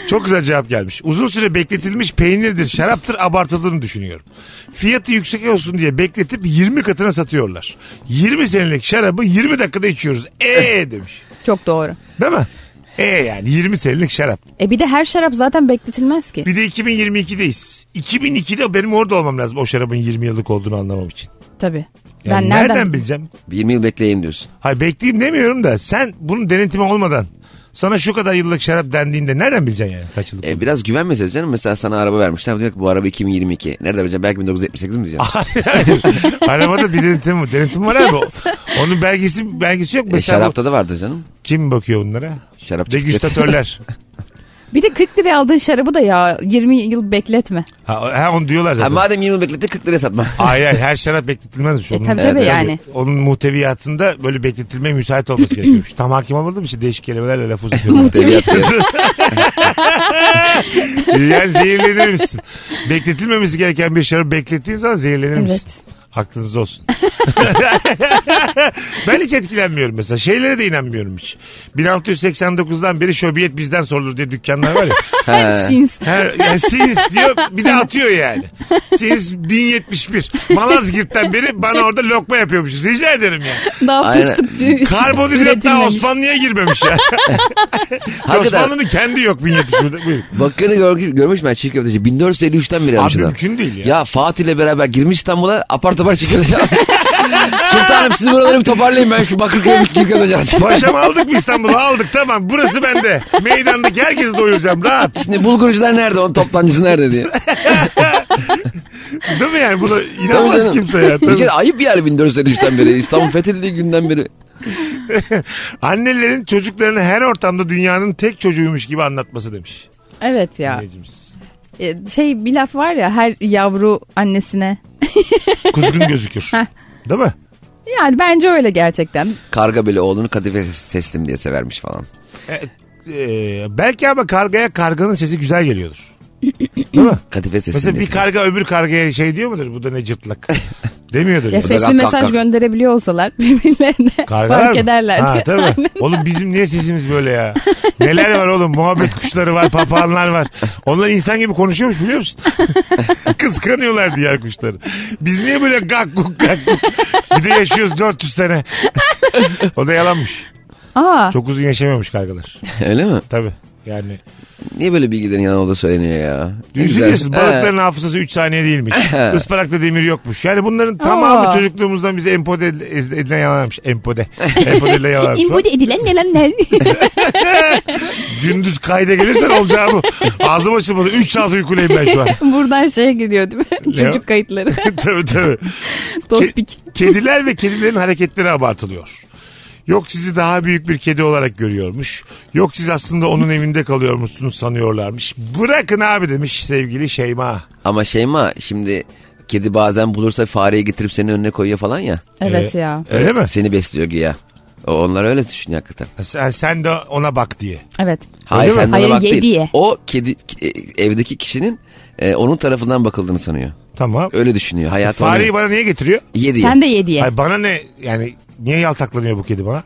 S3: Çok güzel cevap gelmiş. Uzun süre bekletilmiş peynirdir, şaraptır abartıldığını düşünüyorum. Fiyatı yüksek olsun diye bekletip 20 katına satıyorlar. 20 senelik şarabı 20 dakikada içiyoruz. Ee demiş.
S5: Çok doğru.
S3: Değil mi? Ee yani 20 senelik şarap.
S5: E bir de her şarap zaten bekletilmez ki.
S3: Bir de 2022'deyiz. 2002'de benim orada olmam lazım o şarabın 20 yıllık olduğunu anlamam için.
S5: Tabi.
S3: Yani
S5: ben
S3: nereden,
S5: nereden,
S3: bileceğim?
S4: 20 yıl bekleyeyim diyorsun.
S3: Hayır bekleyeyim demiyorum da sen bunun denetimi olmadan Sana şu kadar yıllık şarap dendiğinde nereden bileceksin yani kaç yıllık?
S4: E, biraz güven meselesi canım. Mesela sana araba vermişler. Diyor ki bu araba 2022. Nerede bileceksin? Belki 1978 mi diyeceksin?
S3: Arabada bir denetim, denetim var abi. O- Onun belgesi belgesi yok.
S4: E,
S3: Mesela
S4: şarapta da vardır canım.
S3: bu- kim bakıyor onlara?
S4: Şarap
S3: Degüstatörler.
S5: Bir de 40 liraya aldığın şarabı da ya 20 yıl bekletme.
S3: ha, ha, onu diyorlar
S4: Ha,
S3: zaten.
S4: madem 20 bekletti 40 liraya satma.
S3: Hayır hayır, her şarap bekletilmezmiş.
S5: E
S3: Onun,
S5: tabii
S4: Evet,
S5: tabii
S4: evet.
S5: yani.
S3: onun muhteviyatında böyle bekletilmeye müsait olması gerekiyormuş. Tam hakim olmadım işte değişik kelimelerle laf uzatıyorum.
S4: Muhteviyat diye.
S3: yani zehirlenir misin? Bekletilmemesi gereken bir şarap beklettiğin zaman zehirlenir misin?
S5: Evet.
S3: Aklınız olsun. ben hiç etkilenmiyorum mesela. Şeylere de inanmıyorum hiç. 1689'dan beri şöbiyet bizden sorulur diye dükkanlar var ya.
S4: Ha.
S5: Sins.
S3: Her, yani Sins diyor bir de atıyor yani. Sins 1071. Malazgirt'ten beri bana orada lokma yapıyormuşuz. Rica ederim ya.
S5: Daha
S4: Aynen.
S5: fıstıkçı.
S3: Karbonhidrat daha
S5: üretilmemiş.
S3: Osmanlı'ya girmemiş ya.
S4: Hakikaten.
S3: Osmanlı'nın kendi yok 1071'de. Buyurun.
S4: Bakıyordu gör, görmüş ben çiğ köfteci. 1453'ten beri almış
S3: Abi
S4: adam.
S3: mümkün değil ya.
S4: Ya Fatih ile beraber girmiş İstanbul'a apar topar çiğ köfteci. Sultanım siz buraları bir toparlayın ben şu Bakırköy'e bir çiğ köfteci açayım.
S3: Paşam aldık mı İstanbul'u? Aldık tamam. Burası bende. Meydandaki herkesi doyuracağım rahat.
S4: Şimdi bulgurcular nerede onun toptancısı nerede diye.
S3: Değil mi yani? Buna
S4: Tabii
S3: inanmaz
S4: canım.
S3: kimse ya.
S4: Bir
S3: Tabii.
S4: kere ayıp yani 1453'ten beri. İstanbul fethedildiği günden beri.
S3: Annelerin çocuklarını her ortamda dünyanın tek çocuğuymuş gibi anlatması demiş.
S5: Evet ya.
S3: dinleyicimiz.
S5: E, Şey bir laf var ya her yavru annesine.
S3: Kuzgun gözükür. Değil mi?
S5: Yani bence öyle gerçekten.
S4: Karga bile oğlunu kadife ses- sestim diye severmiş falan.
S3: Ee, E, belki ama kargaya karganın sesi güzel geliyordur. Değil mi?
S4: Kadife sestim
S3: Mesela
S4: diye
S3: bir
S4: sever.
S3: karga öbür kargaya şey diyor mudur? Bu da ne cırtlak. Demiyordur.
S5: Ya
S3: yani.
S5: sesli
S4: kalk,
S5: mesaj
S4: kalk.
S5: gönderebiliyor olsalar birbirlerine
S3: Kargalar
S5: fark
S3: mı?
S5: ederler.
S3: Ha, tabii. oğlum bizim niye sesimiz böyle ya? Neler var oğlum? Muhabbet kuşları var, papağanlar var. Onlar insan gibi konuşuyormuş biliyor musun? Kıskanıyorlar diğer kuşları. Biz niye böyle gak guk gak guk? Bir de yaşıyoruz 400 sene. o da yalanmış.
S5: Aa,
S3: Çok uzun yaşamıyormuş kargalar.
S4: Öyle mi?
S3: Tabii. Yani
S4: Niye böyle bilgilerin yalan olduğu söyleniyor ya? Ne güzel.
S3: üzülüyorsun.
S4: Ha.
S3: Balıkların hafızası 3 saniye değilmiş. Isparakta demir yokmuş. Yani bunların tamamı
S5: Aa.
S3: çocukluğumuzdan bize empode edilen yalanmış. Empode. Empode edilen yalanmış.
S5: impode e, edilen neler
S3: Gündüz kayda gelirsen olacağı bu. Ağzım açılmadı. 3 saat uykuleyim ben şu an.
S5: Buradan şeye gidiyor değil mi? Çocuk kayıtları.
S3: tabii tabii.
S5: Dospik.
S3: Kediler ve kedilerin hareketleri abartılıyor. Yok sizi daha büyük bir kedi olarak görüyormuş. Yok siz aslında onun evinde kalıyormuşsunuz sanıyorlarmış. Bırakın abi demiş sevgili Şeyma.
S4: Ama Şeyma şimdi kedi bazen bulursa fareyi getirip senin önüne koyuyor falan ya.
S5: Evet ya.
S3: Öyle mi?
S4: Seni besliyor güya. O- Onlar öyle düşünüyor hakikaten.
S3: Sen, sen de ona bak diye.
S5: Evet.
S4: Hayır
S3: mi?
S4: sen de
S5: Hayır,
S4: bak
S5: ye
S4: değil.
S5: diye.
S4: O kedi ki- e, evdeki kişinin e, onun tarafından bakıldığını sanıyor.
S3: Tamam.
S4: Öyle düşünüyor. Hayatı
S3: Fareyi bana niye getiriyor?
S4: ye diye.
S5: Sen de ye diye.
S3: Ay bana ne yani niye yaltaklanıyor bu kedi bana?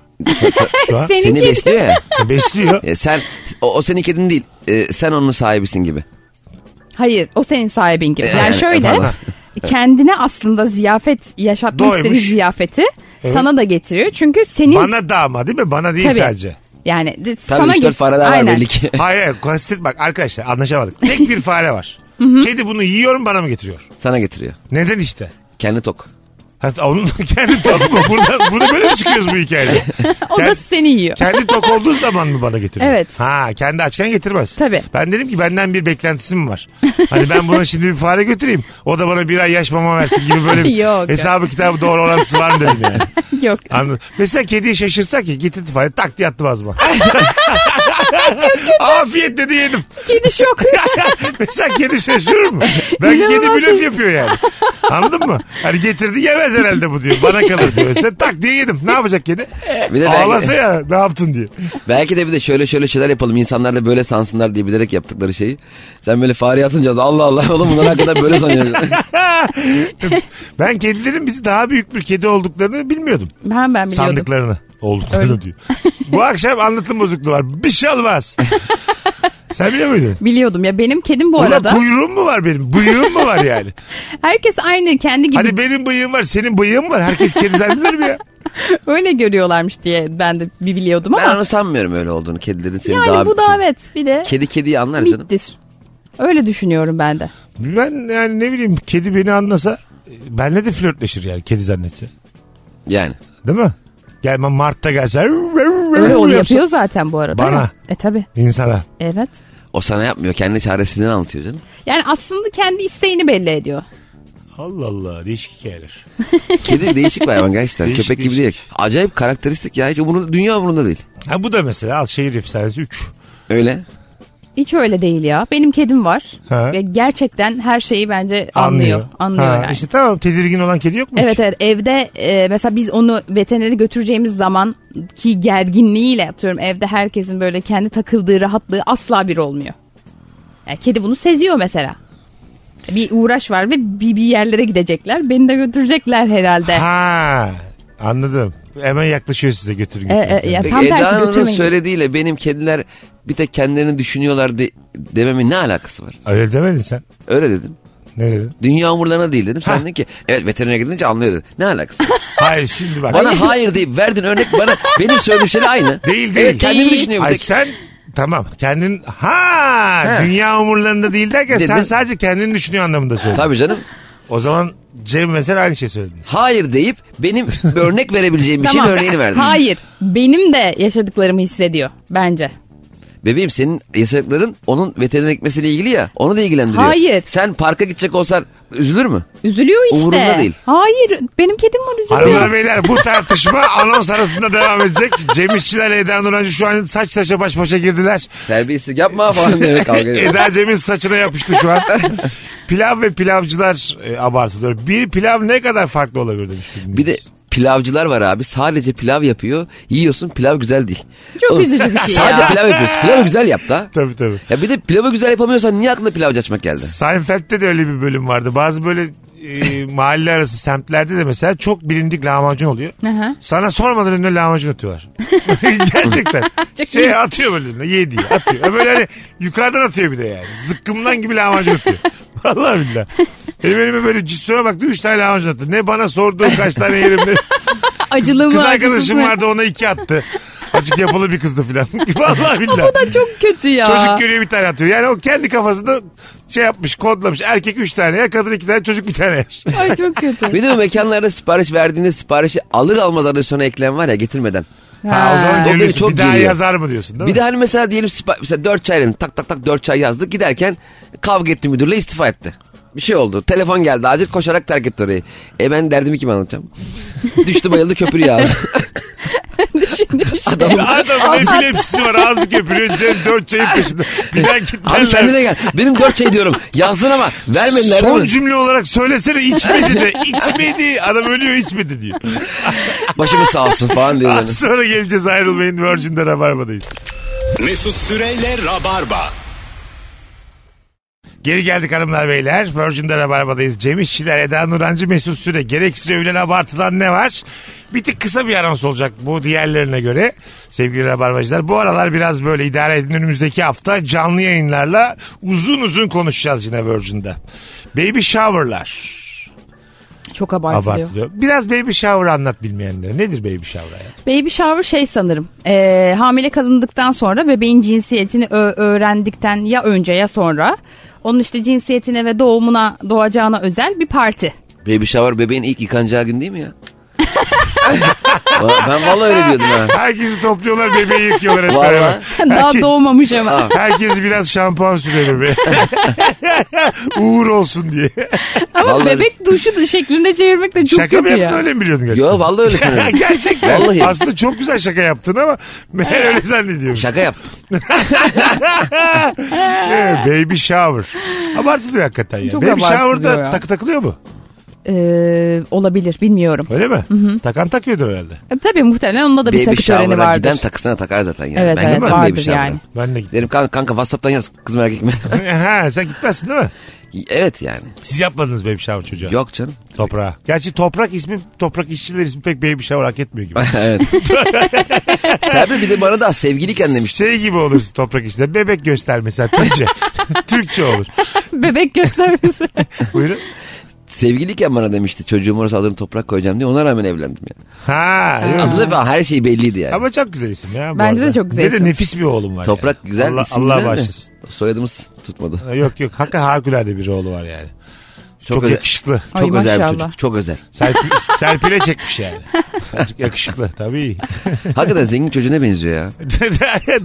S3: Şu an
S5: Senin
S4: Seni
S5: kedi-
S4: besliyor ya.
S3: besliyor.
S4: E, sen o, o senin kedin değil. E, sen onun sahibisin gibi.
S5: Hayır o senin sahibin gibi.
S4: Ee,
S5: Yani şöyle
S4: pardon.
S5: kendine aslında ziyafet yaşatmak
S3: Doymuş.
S5: istediği ziyafeti sana da getiriyor. Çünkü senin
S3: Bana da ama değil mi? Bana değil
S5: Tabii.
S3: sadece.
S5: yani de-
S4: Tabii
S5: sana
S4: 3 4
S5: get-
S4: fare daha var
S5: Aynen.
S4: belli ki.
S3: Hayır hayır kastet bak arkadaşlar anlaşamadık. Tek bir fare var. Kedi bunu yiyor mu bana mı getiriyor?
S4: Sana getiriyor.
S3: Neden işte?
S4: Kendi tok.
S3: Hatta onun da kendi tok mu? Burada, burada böyle mi çıkıyoruz bu hikayede?
S5: O da
S3: Kend-
S5: seni yiyor.
S3: kendi tok olduğu zaman mı bana getiriyor?
S5: Evet.
S3: Ha kendi açken getirmez.
S5: Tabii.
S3: Ben dedim ki benden bir beklentisi mi var? Hani ben buna şimdi bir fare götüreyim. O da bana bir ay yaş mama versin gibi böyle bir
S5: Yok.
S3: hesabı kitabı doğru orantısı var mı dedim yani.
S5: Yok.
S3: Anladım. Mesela kediyi şaşırsak ki getirdi fare tak diye attım ağzıma. Afiyet dedi yedim.
S5: Kedi şok.
S3: Mesela kedi şaşırır mı? Belki kedi
S5: İnanılmaz şey.
S3: blöf yapıyor yani. Anladın mı? Hani getirdi yemez herhalde bu diyor. Bana kalır diyor. Sen tak diye yedim. Ne yapacak kedi?
S4: Bir de
S3: Ağlasa
S4: belki,
S3: ya ne yaptın diye.
S4: belki de bir de şöyle şöyle şeyler yapalım. İnsanlar da böyle sansınlar diye bilerek yaptıkları şeyi. Sen böyle fare atınca Allah Allah oğlum bunlar hakikaten böyle sanıyor.
S3: Ben kedilerin bizi daha büyük bir kedi olduklarını bilmiyordum.
S5: Ben ben biliyordum.
S3: Sandıklarını olduklarını diyor. Bu akşam anlatım bozukluğu var. Bir şey olmaz. Sen biliyor muydun?
S5: Biliyordum ya benim kedim bu
S3: Ulan
S5: arada.
S3: kuyruğum mu var benim? Bıyığım mı var yani?
S5: Herkes aynı kendi gibi
S3: Hani benim bıyığım var, senin bıyığın var. Herkes kedi zannedilir mi ya?
S5: öyle görüyorlarmış diye ben de bir biliyordum
S4: Ben
S5: ama
S4: onu sanmıyorum öyle olduğunu. Kedilerin seni
S5: yani
S4: daha...
S5: bu da evet bir de
S4: Kedi kediyi anlar canım.
S5: mittir. Öyle düşünüyorum ben de.
S3: Ben yani ne bileyim kedi beni anlasa e, benle de flörtleşir yani kedi zannetse.
S4: Yani.
S3: Değil mi? Gelme Mart'ta gelse
S5: Öyle onu
S3: yapsam-
S5: yapıyor zaten bu arada.
S3: Bana.
S5: ya. E tabi.
S3: İnsana.
S5: Evet.
S4: O sana yapmıyor. Kendi çaresinden anlatıyor canım.
S5: Yani aslında kendi isteğini belli ediyor.
S3: Allah Allah değişik hikayeler.
S4: Kedi değişik bir hayvan gerçekten.
S3: Değişik,
S4: Köpek gibi
S3: değişik.
S4: değil. Acayip karakteristik ya. Hiç umurunda, dünya umurunda değil.
S3: Ha bu da mesela al şehir efsanesi 3.
S4: Öyle.
S5: Hiç öyle değil ya. Benim kedim var.
S3: Ha.
S5: Ve gerçekten her şeyi bence anlıyor. Anlıyor, yani.
S3: İşte tamam tedirgin olan kedi yok mu hiç?
S5: Evet evet evde e, mesela biz onu veterinere götüreceğimiz zaman ki gerginliğiyle atıyorum evde herkesin böyle kendi takıldığı rahatlığı asla bir olmuyor. Yani kedi bunu seziyor mesela. Bir uğraş var ve bir, bir yerlere gidecekler. Beni de götürecekler herhalde.
S3: Ha anladım. Hemen yaklaşıyor size götür götür.
S5: E, e, ya
S4: Peki
S5: tam tersi
S4: Eda Hanım'ın
S5: götürmeyin.
S4: söylediğiyle benim kediler bir tek kendilerini düşünüyorlar de, dememin ne alakası var?
S3: Öyle demedin sen.
S4: Öyle dedim.
S3: Ne dedin?
S4: Dünya umurlarına değil dedim. Sen dedin ki evet veterinere gidince anlıyor dedin. Ne alakası var?
S3: Hayır şimdi bak.
S4: bana hayır deyip verdin örnek bana benim söylediğim şeyle aynı.
S3: Değil, değil.
S4: Evet kendimi
S5: Değil.
S4: düşünüyor bir
S3: Ay
S4: tek.
S3: sen tamam kendin ha, dünya umurlarında değil derken sen
S4: Dedim.
S3: sadece kendini düşünüyor anlamında söyledin.
S4: Tabii canım.
S3: O zaman Cem mesela aynı şey söylediniz.
S4: Hayır deyip benim bir örnek verebileceğim bir şeyin örneğini verdin.
S5: Hayır. Benim de yaşadıklarımı hissediyor bence.
S4: Bebeğim senin yasakların onun veteriner gitmesiyle ilgili ya. Onu da ilgilendiriyor.
S5: Hayır.
S4: Sen parka gidecek olsan üzülür mü?
S5: Üzülüyor işte.
S4: Umurunda değil.
S5: Hayır. Benim kedim var üzülüyor.
S3: Hanımlar beyler bu tartışma anons arasında devam edecek. Cem İşçilerle Eda Nurancı şu an saç saça baş başa girdiler.
S4: Terbiyesiz yapma falan demek kavga ediyor.
S3: Eda Cem'in saçına yapıştı şu an. pilav ve pilavcılar e, abartılıyor. Bir pilav ne kadar farklı olabilir demiş. dinleyicimiz.
S4: Bir de pilavcılar var abi. Sadece pilav yapıyor. Yiyorsun pilav güzel değil.
S5: Çok üzücü bir şey ya.
S4: Sadece pilav yapıyorsun. Pilavı güzel yap da.
S3: Tabii tabii.
S4: Ya bir de pilavı güzel yapamıyorsan niye aklına pilavcı açmak geldi?
S3: Seinfeld'de de öyle bir bölüm vardı. Bazı böyle e, mahalle arası semtlerde de mesela çok bilindik lahmacun oluyor.
S5: Aha.
S3: Sana sormadan önüne lahmacun atıyorlar. Gerçekten. şey atıyor böyle önüne. Ye diye atıyor. Ha Böyle hani yukarıdan atıyor bir de yani. Zıkkımdan gibi lahmacun atıyor. Vallahi billahi. Benim elime böyle cüssüme baktı üç tane lahmacun attı. Ne bana sordu kaç tane yerim dedi.
S5: Acılı mı
S3: Kız
S5: acısız
S3: arkadaşım
S5: mı?
S3: vardı ona iki attı. Açık yapılı bir kızdı filan. Vallahi billahi.
S5: Bu da çok kötü ya.
S3: Çocuk görüyor bir tane atıyor. Yani o kendi kafasında şey yapmış, kodlamış. Erkek üç tane yer, kadın iki tane, çocuk bir tane yer.
S5: Ay çok kötü.
S4: Bir de o mekanlarda sipariş verdiğinde siparişi alır almaz adresona ekleyen var ya getirmeden.
S3: Ha, o zaman
S5: Ha.
S4: O beni
S3: geliyorsun.
S4: çok
S3: bir daha
S4: geriyor.
S3: yazar mı diyorsun değil
S4: Bir
S3: mi?
S4: de hani mesela diyelim sipa- mesela 4 çay verin. tak tak tak 4 çay yazdık giderken kavga etti müdürle istifa etti. Bir şey oldu. Telefon geldi acil koşarak terk etti orayı. E ben derdimi kime anlatacağım? Düştü bayıldı köpürüyor ağzı.
S5: Düşün, düşün.
S3: Adamın epilepsisi var ağzı köpürüyor Cem dört çayın peşinde. Bir daha git derler.
S4: Abi kendine gel. Benim 4 çay diyorum. Yazdın ama vermediler değil
S3: Son
S4: mi?
S3: cümle olarak söylesene içmedi de içmedi. Adam ölüyor içmedi diyor.
S4: Başımız sağ olsun falan diyor. yani.
S3: Az sonra geleceğiz ayrılmayın Virgin'de Rabarba'dayız.
S2: Mesut Süreyle Rabarba.
S3: Geri geldik hanımlar beyler. Virgin'de Rabarba'dayız. Cem İşçiler, Eda Nurancı, Mesut Süre. Gereksiz övülen abartılan ne var? Bir tık kısa bir anons olacak bu diğerlerine göre. Sevgili Rabarbacılar bu aralar biraz böyle idare edin. Önümüzdeki hafta canlı yayınlarla uzun uzun konuşacağız yine Virgin'de. Baby shower'lar
S5: Çok abartılıyor.
S3: abartılıyor. Biraz baby shower anlat bilmeyenlere. Nedir baby shower hayatım?
S5: Baby shower şey sanırım. Ee, hamile kalındıktan sonra bebeğin cinsiyetini ö- öğrendikten ya önce ya sonra onun işte cinsiyetine ve doğumuna doğacağına özel bir parti.
S4: Baby shower bebeğin ilk yıkanacağı gün değil mi ya? ben vallahi öyle diyordum ha.
S3: Herkesi topluyorlar bebeği yıkıyorlar hep
S4: Vallahi.
S3: beraber.
S5: Daha doğmamış ama.
S3: Herkes biraz şampuan sürüyor bebeğe. Uğur olsun diye.
S5: ama
S4: Vallahi-
S5: bebek duşu da şeklinde çevirmek de çok
S3: Şaka mı
S5: kötü
S3: yaptın
S5: ya.
S3: öyle mi biliyordun gerçekten?
S4: Yo vallahi öyle sanıyorum.
S3: Gerçekten.
S4: Vallahi.
S3: Aslında çok güzel şaka yaptın ama ben öyle zannediyorum.
S4: Şaka yaptım.
S3: Ee, baby shower. Abartılıyor hakikaten ya.
S5: Çok
S3: baby
S5: abartılıyor
S3: shower'da
S5: ya.
S3: takı takılıyor mu?
S5: Ee, olabilir bilmiyorum.
S3: Öyle mi? Takan takıyordur herhalde.
S5: E, Tabii muhtemelen onunla da bir
S4: Baby
S5: takı töreni
S4: shower'a
S5: vardır.
S4: giden takısına takar zaten yani.
S5: Evet,
S4: ben
S5: evet,
S4: gitmem
S5: vardır
S4: baby shower'a.
S5: yani.
S3: Ben de gittim.
S4: Dedim kanka, kanka Whatsapp'tan yaz kız merak etme.
S3: ha, sen gitmezsin değil mi?
S4: evet yani.
S3: Siz yapmadınız baby shower çocuğa.
S4: Yok canım.
S3: Toprağa. Gerçi toprak ismi, toprak işçiler ismi pek baby shower hak etmiyor gibi.
S4: evet. Serpil bir de bana daha sevgiliyken demiş.
S3: Şey gibi olur toprak işçiler. Bebek göster mesela Türkçe. Türkçe olur.
S5: Bebek göstermesi.
S3: Buyurun.
S4: Sevgiliyken bana demişti çocuğum orası adını toprak koyacağım diye. Ona rağmen evlendim yani.
S3: Ha. değil mi?
S4: Adı da falan her şey belliydi yani.
S3: Ama çok güzel isim ya. bu
S5: Bence de
S3: arada.
S5: çok güzel
S3: Ve de
S5: isim.
S3: nefis bir oğlum var.
S4: toprak
S3: yani.
S4: güzel
S3: Allah,
S4: isim
S3: Allah
S4: güzel de
S3: bağışlasın.
S4: Soyadımız tutmadı.
S3: Yok yok. Hakikaten harikulade bir oğlu var yani. Çok,
S4: özel-
S3: yakışıklı.
S5: Ay,
S4: Çok özel bir
S5: maşallah.
S4: çocuk. Çok özel.
S3: Serpi- serpile çekmiş yani. Çok yakışıklı tabii.
S4: Hakikaten zengin çocuğuna benziyor ya.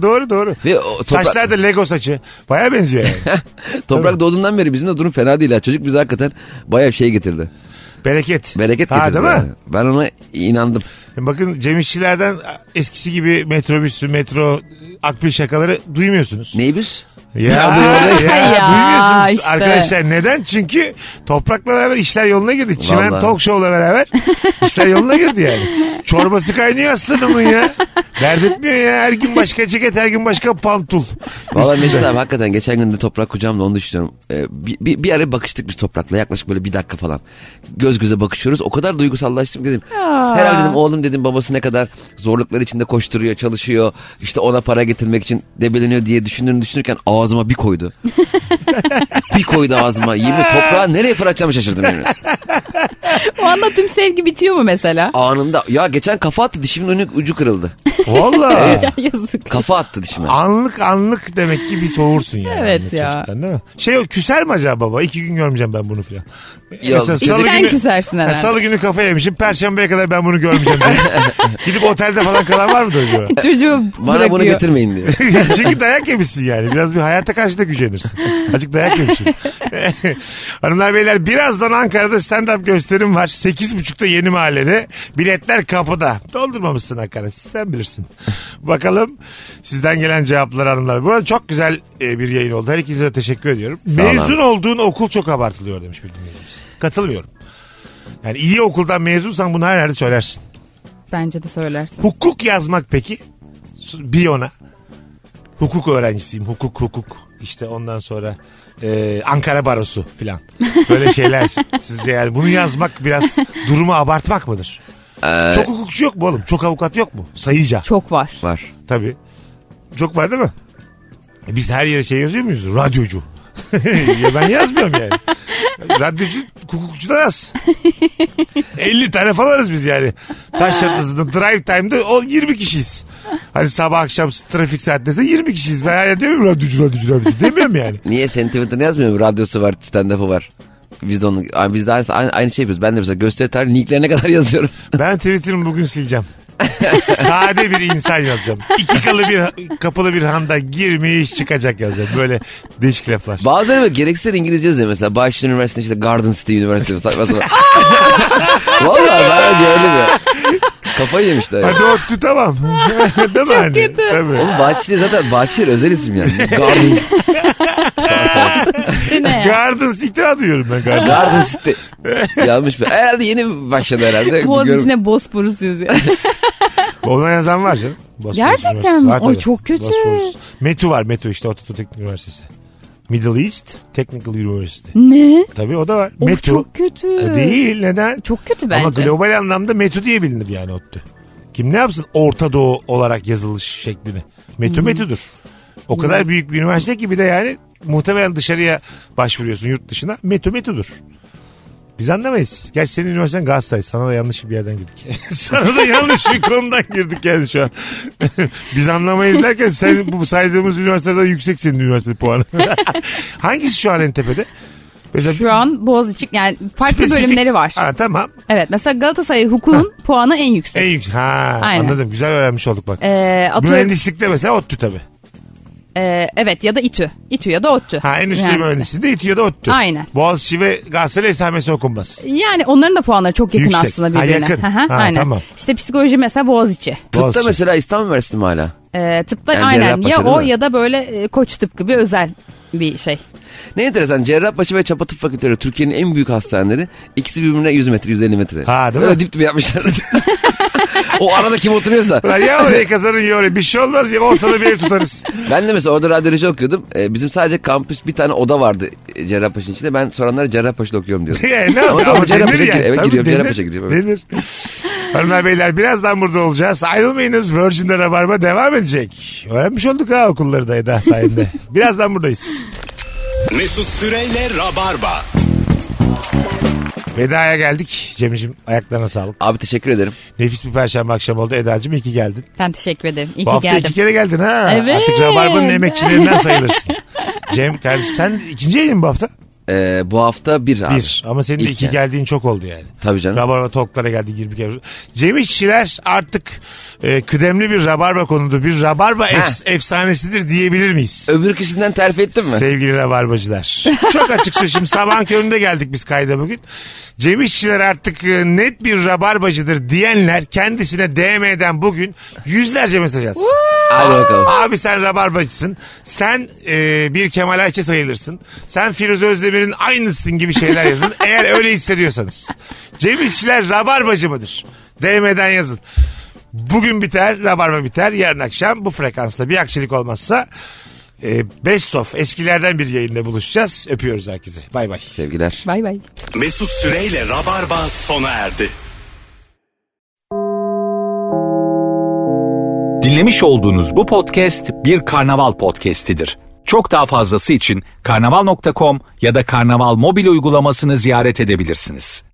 S3: doğru doğru.
S4: Ve o toprak,
S3: Saçlar da Lego saçı. Baya benziyor yani.
S4: toprak doğduğundan beri bizim de durum fena değil. Ha. Çocuk bize hakikaten bayağı bir şey getirdi.
S3: Bereket.
S4: Bereket
S3: Ha,
S4: getirdi.
S3: değil mi? E,
S4: yani. Ben ona inandım.
S3: Bakın Cem İşçilerden eskisi gibi metrobüsü, metro, akbil şakaları duymuyorsunuz.
S4: Neybüs?
S3: Ya,
S4: duymadım.
S3: ya,
S5: Ya,
S3: duymuyorsunuz
S5: işte.
S3: arkadaşlar. Neden? Çünkü toprakla beraber işler yoluna girdi. Çimen
S4: Vallahi.
S3: Talk Show'la beraber işler yoluna girdi yani. Çorbası kaynıyor aslanımın ya. Dert etmiyor ya. Her gün başka ceket, her gün başka pantul.
S4: Vallahi
S3: Üstünde.
S4: Mesut abi hakikaten geçen gün de toprak kucağımda onu düşünüyorum. Ee, bir, bir, bir ara bakıştık biz toprakla yaklaşık böyle bir dakika falan. Göz göze bakışıyoruz. O kadar duygusallaştım ki dedim. Herhalde dedim oğlum dedim babası ne kadar zorluklar içinde koşturuyor çalışıyor. İşte ona para getirmek için debeleniyor diye düşünür düşünürken ağzıma bir koydu. bir koydu ağzıma. Yemin toprağı nereye fırlatacağımı şaşırdım yemin.
S5: O anda tüm sevgi bitiyor mu mesela?
S4: Anında ya geçen kafa attı dişimin önü ucu kırıldı.
S3: Valla.
S5: Ya Yazık.
S4: Kafa attı dişime.
S3: Anlık anlık demek ki bir soğursun yani.
S5: Evet
S3: anlık
S5: ya.
S3: çocuktan, değil mi? Şey o küser mi acaba baba? İki gün görmeyeceğim ben bunu filan.
S4: Yok,
S3: Mesela
S4: kesin-
S5: Sen küsersin
S3: Ha,
S5: herhalde.
S3: Salı günü kafa yemişim. Perşembeye kadar ben bunu görmeyeceğim. diye. Gidip otelde falan kalan var mıdır acaba?
S5: Çocuğu
S4: Bana bunu
S5: bırakıyor.
S4: getirmeyin diye.
S3: Çünkü dayak yemişsin yani. Biraz bir hayata karşı da gücenirsin. Azıcık dayak yemişsin. Hanımlar beyler birazdan Ankara'da stand-up gösterim var. 8.30'da yeni mahallede. Biletler kapıda. Doldurmamışsın Ankara. Sizden bilirsin. Bakalım sizden gelen cevaplar hanımlar. Burada çok güzel e, bir yayın oldu. Her ikinize de teşekkür ediyorum.
S4: olun.
S3: Mezun olduğun okul çok abartılıyor demiş bir dinleyicimiz. Katılmıyorum. Yani iyi okuldan mezunsan bunu her yerde söylersin.
S5: Bence de söylersin.
S3: Hukuk yazmak peki? Biyona. Hukuk öğrencisiyim. Hukuk hukuk. İşte ondan sonra e, Ankara Barosu filan. Böyle şeyler. Sizce yani bunu yazmak biraz durumu abartmak mıdır? Çok hukukçu yok mu oğlum? Çok avukat yok mu? Sayıca.
S5: Çok var.
S4: Var.
S3: Tabii. Çok var değil mi? E, Biz her yere şey yazıyor muyuz? Radyocu. ya ben yazmıyorum yani. Radyocu hukukçudan az. 50 tane falanız biz yani. Taş çatlasında drive time'da o 20 kişiyiz. Hani sabah akşam trafik saatlerinde 20 kişiyiz. Ben hala diyorum radyocu radyocu radyocu demiyorum yani.
S4: Niye senin Twitter'da yazmıyor mu? Radyosu var, stand-up'ı var. Biz de onu, Ay, biz de aynı, aynı aynı şey yapıyoruz. Ben de mesela gösteri tarihi linklerine kadar yazıyorum.
S3: Ben Twitter'ımı bugün sileceğim. Sade bir insan yazacağım. İki kalı bir kapalı bir handa girmiş çıkacak yazacağım. Böyle değişik laflar.
S4: Bazıları böyle gereksiz İngilizce yazıyor mesela. Bahçeli Üniversitesi işte Garden City Üniversitesi. saçma sapan. Vallahi ben de öyle ya. Kafayı yemişler. ya.
S3: Hadi ortu tamam. Değil mi hani?
S5: kötü.
S3: Tabii.
S4: Oğlum Bahçeli zaten Bahçeli özel isim yani. Garden,
S5: Değil mi ya?
S3: Gardens iktidar duyuyorum ben Gardens.
S4: Garden City. Yanlış mı? Herhalde yeni başladı herhalde.
S5: Boğaz
S4: Görüm-
S5: içine bosporus yazıyor.
S3: Ona yazan var canım. Bosphorus
S5: Gerçekten
S3: Üniversitesi.
S5: mi?
S3: Var
S5: Oy,
S3: tabii.
S5: çok kötü.
S3: Bosphorus. METÜ var METÜ işte Ortadoğu Teknik Üniversitesi. Middle East Technical University.
S5: ne?
S3: Tabii o da var.
S5: Of
S3: METÜ.
S5: çok kötü.
S3: E, Değil neden?
S5: Çok kötü
S3: Ama
S5: bence.
S3: global anlamda METÜ diye bilinir yani ODTÜ. Kim ne yapsın Orta Doğu olarak yazılış şeklini. METÜ METÜ'dür. O kadar büyük bir üniversite ki bir de yani muhtemelen dışarıya başvuruyorsun yurt dışına. METÜ METÜ'dür. Biz anlamayız. Gerçi senin üniversiten Galatasaray. Sana da yanlış bir yerden girdik. Sana da yanlış bir konudan girdik yani şu an. Biz anlamayız derken sen bu saydığımız üniversiteden yüksek senin üniversite puanı. Hangisi şu an en tepede? Mesela
S5: Şu an Boğaziçi yani farklı
S3: spesifik-
S5: bölümleri var.
S3: Ha, tamam.
S5: Evet mesela Galatasaray hukukun puanı en yüksek.
S3: En yüksek. Ha
S5: Aynen.
S3: anladım. Güzel öğrenmiş olduk bak.
S5: Ee, atıyorum,
S3: Mühendislikte mesela ODTÜ tabii.
S5: ee, evet ya da İTÜ. İTÜ ya da ODTÜ.
S3: Ha en üstü
S5: Yani-
S3: mühendisliğinde İTÜ ya da ODTÜ.
S5: Aynen.
S3: Boğaziçi ve Galatasaray esamesi okunmaz.
S5: Yani onların da puanları çok yakın
S3: Yüksek.
S5: aslında
S3: Ha,
S5: birbirine.
S3: yakın.
S5: Hı hı,
S3: Ha,
S5: Aynen.
S3: tamam.
S5: İşte psikoloji mesela Boğaziçi.
S4: Tıpta
S3: Boğaziçi.
S4: mesela İstanbul Üniversitesi mi hala?
S5: Ee, tıpta
S4: Yani
S5: aynen
S4: Cerrahpaşa
S5: ya
S4: değil
S5: o
S4: mi?
S5: ya da böyle e, koç tıpkı bir özel bir şey.
S4: Ne enteresan Cerrahpaşa ve Çapa Tıp Fakülteleri Türkiye'nin en büyük hastaneleri. İkisi birbirine 100 metre 150 metre.
S3: Ha, değil mi?
S4: Öyle dip dibe yapmışlar. o arada kim oturuyorsa.
S3: Ulan ya orayı kazanın ya orayı. Bir şey olmaz ya ortada bir ev tutarız.
S4: Ben de mesela orada radyoloji okuyordum. Ee, bizim sadece kampüs bir tane oda vardı e, Cerrahpaşa'nın içinde. Ben soranlara Cerrahpaşa'da okuyorum diyorum.
S3: Yani ne yapayım?
S4: Ama
S3: Ama
S4: Cerrahpaşa
S3: denir
S4: gir-
S3: yani.
S4: eve
S3: Tabii
S4: giriyorum,
S3: denir.
S4: Cerrahpaşa giriyorum, evet.
S3: Denir. Hanımlar beyler birazdan burada olacağız. Ayrılmayınız. Virgin'de Rabarba devam edecek. Öğrenmiş olduk ha okulları da Eda sayende. birazdan buradayız.
S2: Mesut Süreyle Rabarba.
S3: Veda'ya geldik. Cem'ciğim ayaklarına sağlık.
S4: Abi teşekkür ederim.
S3: Nefis bir perşembe akşamı oldu. Eda'cığım iyi ki geldin.
S5: Ben teşekkür ederim. İyi
S3: Bu
S5: ki
S3: hafta
S5: geldim.
S3: iki kere geldin ha.
S5: Evet.
S3: Artık Rabarba'nın emekçilerinden sayılırsın. Cem kardeşim sen ikinci yayın mı bu hafta?
S4: e, bu hafta bir abi.
S3: Bir. Ama senin de
S4: İlk
S3: iki
S4: yani.
S3: geldiğin çok oldu yani.
S4: Tabii canım.
S3: Rabarba toklara geldi 20 kere. Cem İşçiler artık e, kıdemli bir rabarba konudur. Bir rabarba ef- efsanesidir diyebilir miyiz?
S4: Öbür kişiden terfi ettin mi?
S3: Sevgili rabarbacılar. Çok açık şimdi sabahın köründe geldik biz kayda bugün. Cem İşçiler artık e, net bir rabarbacıdır diyenler kendisine DM'den bugün yüzlerce mesaj atsın.
S4: Hadi bakalım.
S3: Abi sen rabarbacısın. Sen e, bir Kemal Ayça sayılırsın. Sen Firuze Özdemir'in aynısın gibi şeyler yazın. Eğer öyle hissediyorsanız. Cem İşçiler rabarbacı mıdır? DM'den yazın. Bugün biter, rabarba biter. Yarın akşam bu frekansta bir aksilik olmazsa e, best of eskilerden bir yayında buluşacağız. Öpüyoruz herkese. Bay bay.
S4: Sevgiler.
S5: Bay bay.
S2: Mesut Süreyle Rabarba sona erdi.
S1: Dinlemiş olduğunuz bu podcast bir karnaval podcastidir. Çok daha fazlası için karnaval.com ya da karnaval mobil uygulamasını ziyaret edebilirsiniz.